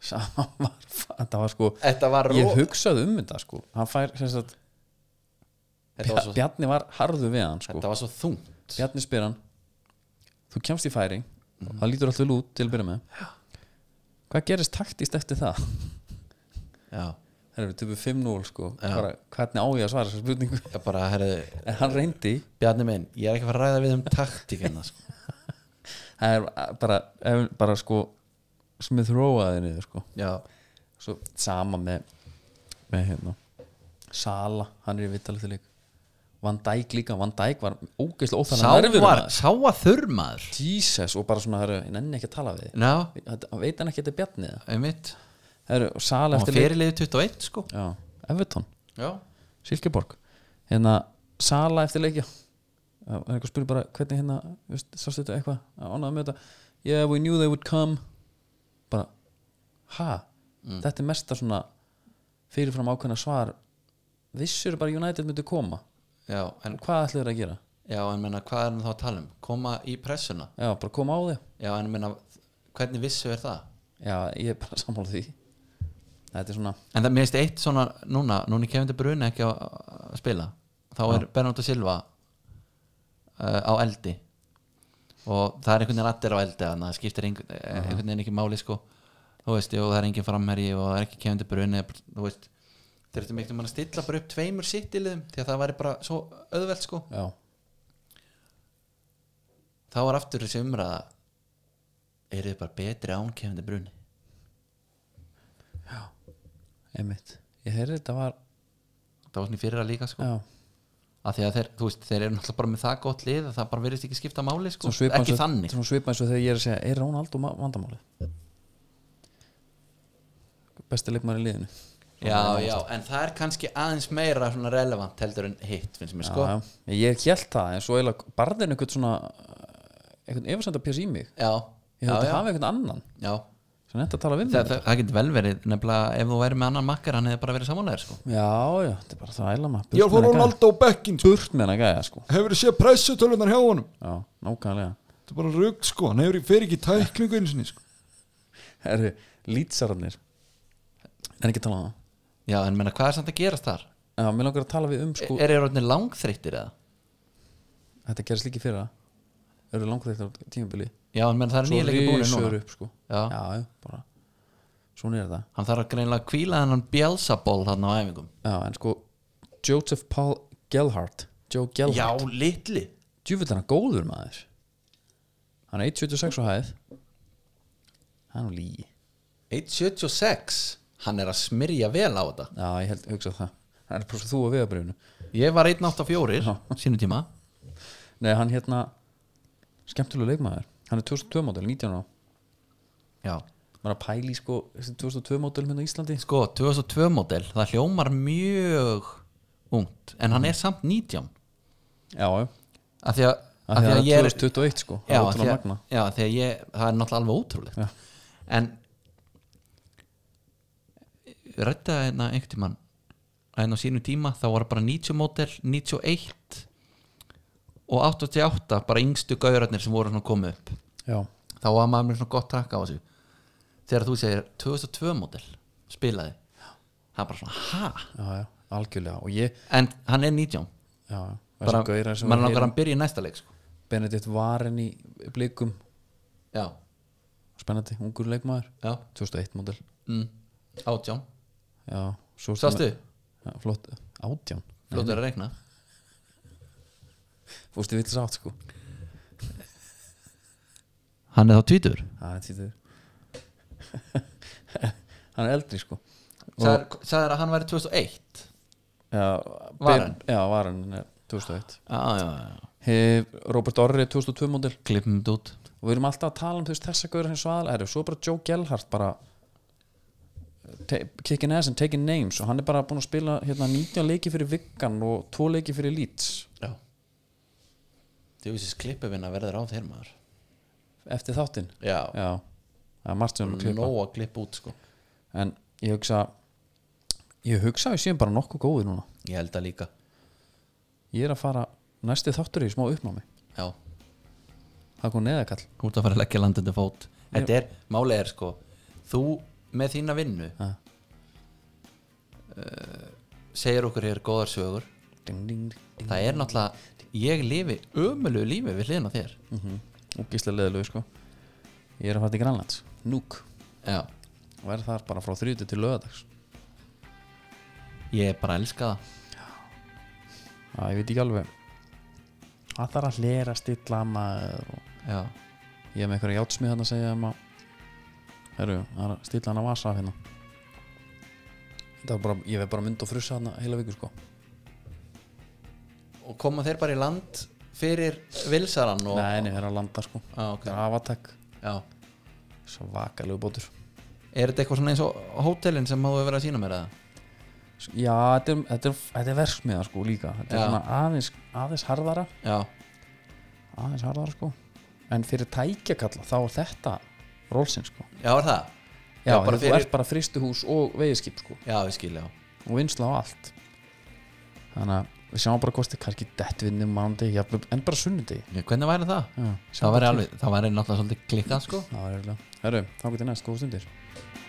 A: Sama var, þetta var sko
B: þetta var,
A: Ég
B: ro-
A: hugsaði um þetta sko Hann fær, sem sagt,
B: þetta, var svo,
A: Bjarni var harðu við hann sko
B: þetta var Mhm. svo þungt
A: Bjarni spyr hann Þú kemst í færing Það lítur alltaf vel út til að byrja með Hvað gerist taktist eftir það? [laughs]
B: já
A: Það er við töpu 5-0 sko
B: Já.
A: bara, Hvernig á ég að svara þessar spurningu? [laughs]
B: það bara, herðu,
A: En hann reyndi
B: Bjarni minn, ég er ekki að fara að ræða við um taktíkina sko.
A: Það er bara, ef- bara sko Smith Rowe að niður sko
B: Já,
A: Svo sama með með hérna Sala, hann er í vitalið til líka Van Dijk líka, Van Dijk var ógeðslega óþannig
B: sávar, sáa þurrmaður
A: Jesus og bara svona, herru, ég nenni ekki að tala við þig
B: Já,
A: Þetta- hann veit hann ekki að þetta er bjarnið
B: einmitt
A: herru, og Sala
B: Og
A: eftir leik-
B: fyrirliði 21 sko
A: Já, Everton,
B: Já,
A: Silkeborg hérna, Sala eftir leikja Já, það er eitthvað spyrir bara hvernig hérna þú veist, sástu þetta eitthvað, ánaða með þetta yeah, we knew they would come bara, ha þetta er mesta svona fyrirfram ákveðna svar vissur bara United myndi koma
B: já, en,
A: og hvað ætluður að gera?
B: já, en menna, hvað erum þá að tala um? Koma í pressuna
A: Já, bara koma á þig
B: Já, en menna, hvernig vissu er það?
A: Já, ég er bara sammála því Þetta er svona,
B: En það minnst eitt svona núna Núna er kefndi bruna ekki að að spila Þá er Bernardo Silva uh, á eldi og það er einhvern veginn allir á eldi þannig að það skiptir einhvern, einhvern veginn ekki máli sko. þú veist, og það er engin framherji og það er ekki kefndi bruna þú veist, þurftum einhvern veginn að stilla bara upp tveimur sittiliðum því að það væri bara svo auðvelt sko.
A: já,
B: þá var aftur þessi umræða eru þið bara betri án kefndi bruni
A: einmitt Ég heyrði þetta var,
B: það var svona í fyrra líka sko.
A: já
B: að því að þeir, þú veist, þeir eru náttúrulega bara með það gott lið að það bara virðist ekki skipta máli sko.
A: Svona svipað
B: ekki
A: eins og-
B: þannig
A: Svona svipa eins og þegar ég er að segja, er Ronaldo ma- vandamálið? Besti leikmar í liðinu
B: já, já, en það er kannski aðeins meira svona relevant heldur en hitt finnst mér sko já,
A: já, já. Ég held það, en svo eiginlega barðin einhvern svona einhvern efasenda pjás í mig
B: já,
A: Ég
B: já,
A: held að
B: já,
A: hafa einhvern annan sem þetta tala við
B: Það,
A: mig
B: það, það getur vel verið nefnilega ef þú væri með annan makkar hann hefði bara verið samanlegar sko.
A: Já, já, þetta er bara það æla maður
C: Ronaldo bekkinn
A: Burt með hana gæja, sko
C: Hefur þið séð pressutölunar hjá honum
A: Já, nákvæmlega
C: Þetta er bara rugg sko, hann hefur í fyrir ekki tæklingu einu sinni sko
A: Herru, lýtsararnir En ekki að tala um það
B: já, en menna, hvað er samt að gerast þar?
A: Já, mér langar að tala við um sko
B: Sko, er þeir langþreyttir eða? e-
A: Þetta gerist líki fyrir það Eru langar þetta tímabili
B: já, en menna, það er
A: Svo
B: nýleiki búinu
A: rísur
B: núna
A: upp sko
B: Já.
A: já, já bara Svona er það
B: hann þarf að greinlega að kvíla hennan bjálsaból hann á æfingum
A: Já, en sko Joseph Paul Gelhardt Joe Gelhardt
B: já, litli
A: djúvill hann góður maður hann er 1.76 og hæð hann er nú lígi
B: 176 Hann er að smyrja vel á þetta
A: já ég held hugsa það hann er prófst þú að viðabrifinu
B: Ég var 184 sínu tíma
A: nei hann hérna skemmtilega leikmaður hann er 2002 mótel 19 ára
B: Já
A: maður er að pæli sko þessi 2002 mótel hérna á Íslandi
B: Sko, 2002 model, það hljómar mjög ungt En hann er samt 19
A: já já
B: Af því að,
A: af því að
B: ég
A: það
B: er
A: er 2021 sko
B: já,
A: það er
B: af því
A: ótrúlega
B: að,
A: magna
B: já, af því að ég, það er náttúrulega alveg ótrúlegt
A: Já.
B: En Rætta hérna einhvern tímann að hérna á sínu tíma þá var bara 90 model, 91 og 88 bara yngstu gaurarnir sem voru svona komið upp
A: já
B: þá var maður með svona gott takk á þessu þegar þú segir 2002 model spilaði það er bara svona ha
A: já já algjörlega og ég
B: en hann er
A: já
B: 19
A: já
B: bara,
A: þessum gaurar sem við
B: maður langar
A: heyrum-
B: að hann byrja í næsta leik sko.
A: Benedikt Varen í blikum
B: já,
A: spennandi, ungur leikmaður
B: já,
A: 2001 mótel
B: mm, 18
A: já, svo ertu
B: sástu,
A: með- já, flott, átján
B: flottur að reikna
A: fórstu vill sátt sko
B: hann er þá tvítur
A: það er títur [laughs] hann er eldri sko
B: sagðir sagðir að hann væri 2001
A: já,
B: Varen?
A: Ben- já, Varen er 2001
B: já, já, já,
A: Hef, Robert Orri 2002 mótel
B: klippum þetta út
A: og við erum alltaf að tala um þú veist þessa gauður sem svaðal er svo er bara Joe Gelhardt bara te- kicking ass and taking names og hann er bara búin að spila hérna 19 leiki fyrir Viggan og 2 leiki fyrir Leeds
B: já þú veist klippuvinna verður á þér maður
A: eftir þáttinn
B: já,
A: já, það er margt sem við erum að klippa
B: nóg að klippa út sko
A: en ég hugsa ég hugsa að við séum bara nokkuð góði núna
B: ég held að líka,
A: ég er að fara næsti þáttur í smá uppnámi
B: já
A: það er komið neðakall
B: út að fara að leggja landinu fót þetta er, málið er sko þú með þína vinnu uh,
A: Ha.
B: segir okkur hér góðar sögur
A: ding, ding, ding.
B: það er náttúrulega, ég lifi ömulegu lífi við hliðina á þér
A: Mm -hmm. og gíslega leðilegu sko ég er að fara til Grænlands, núk
B: já,
A: og verð þar bara frá þrjúti til lögadags
B: ég bara elska það
A: já, ég veit ekki alveg það þarf að hlera stilla maður og
B: já,
A: ég er með einhverja játsmið þarna að segja um að herru, það er að stilla hann að vasa af hérna þetta var bara, ég veið bara mynd og frussa þarna heila viku sko
B: og koma þeir bara í land fyrir vilsarann og
A: Nei, nei, við erum að landa sko
B: á,
A: Þetta er afatak,
B: já.
A: svakalegu bótur
B: er þetta eitthvað svona eins og hótelin sem maður verið að sína mér eða?
A: Já, þetta er, þetta er, þetta er versmiða sko líka Þetta er
B: Já.
A: svona aðeins, aðeins harðara
B: já,
A: aðeins harðara sko En fyrir tækjakalla þá er þetta rólsinn sko
B: já er það
A: Já,
B: bara
A: þú
B: fyrir-
A: ert bara fristuhús og veiðskip sko
B: já, ég skil, já,
A: og vinsla á allt Þannig að við sjáum bara kosti kannski dettvinni, mándi, jafnveg, en bara sunnundi
B: Ég, hvernig væri það?
A: Já,
B: það væri alveg, það væri náttúrulega svolítið klikkað sko
A: Það var eiginlega Herru, þá getur næst, góða stundir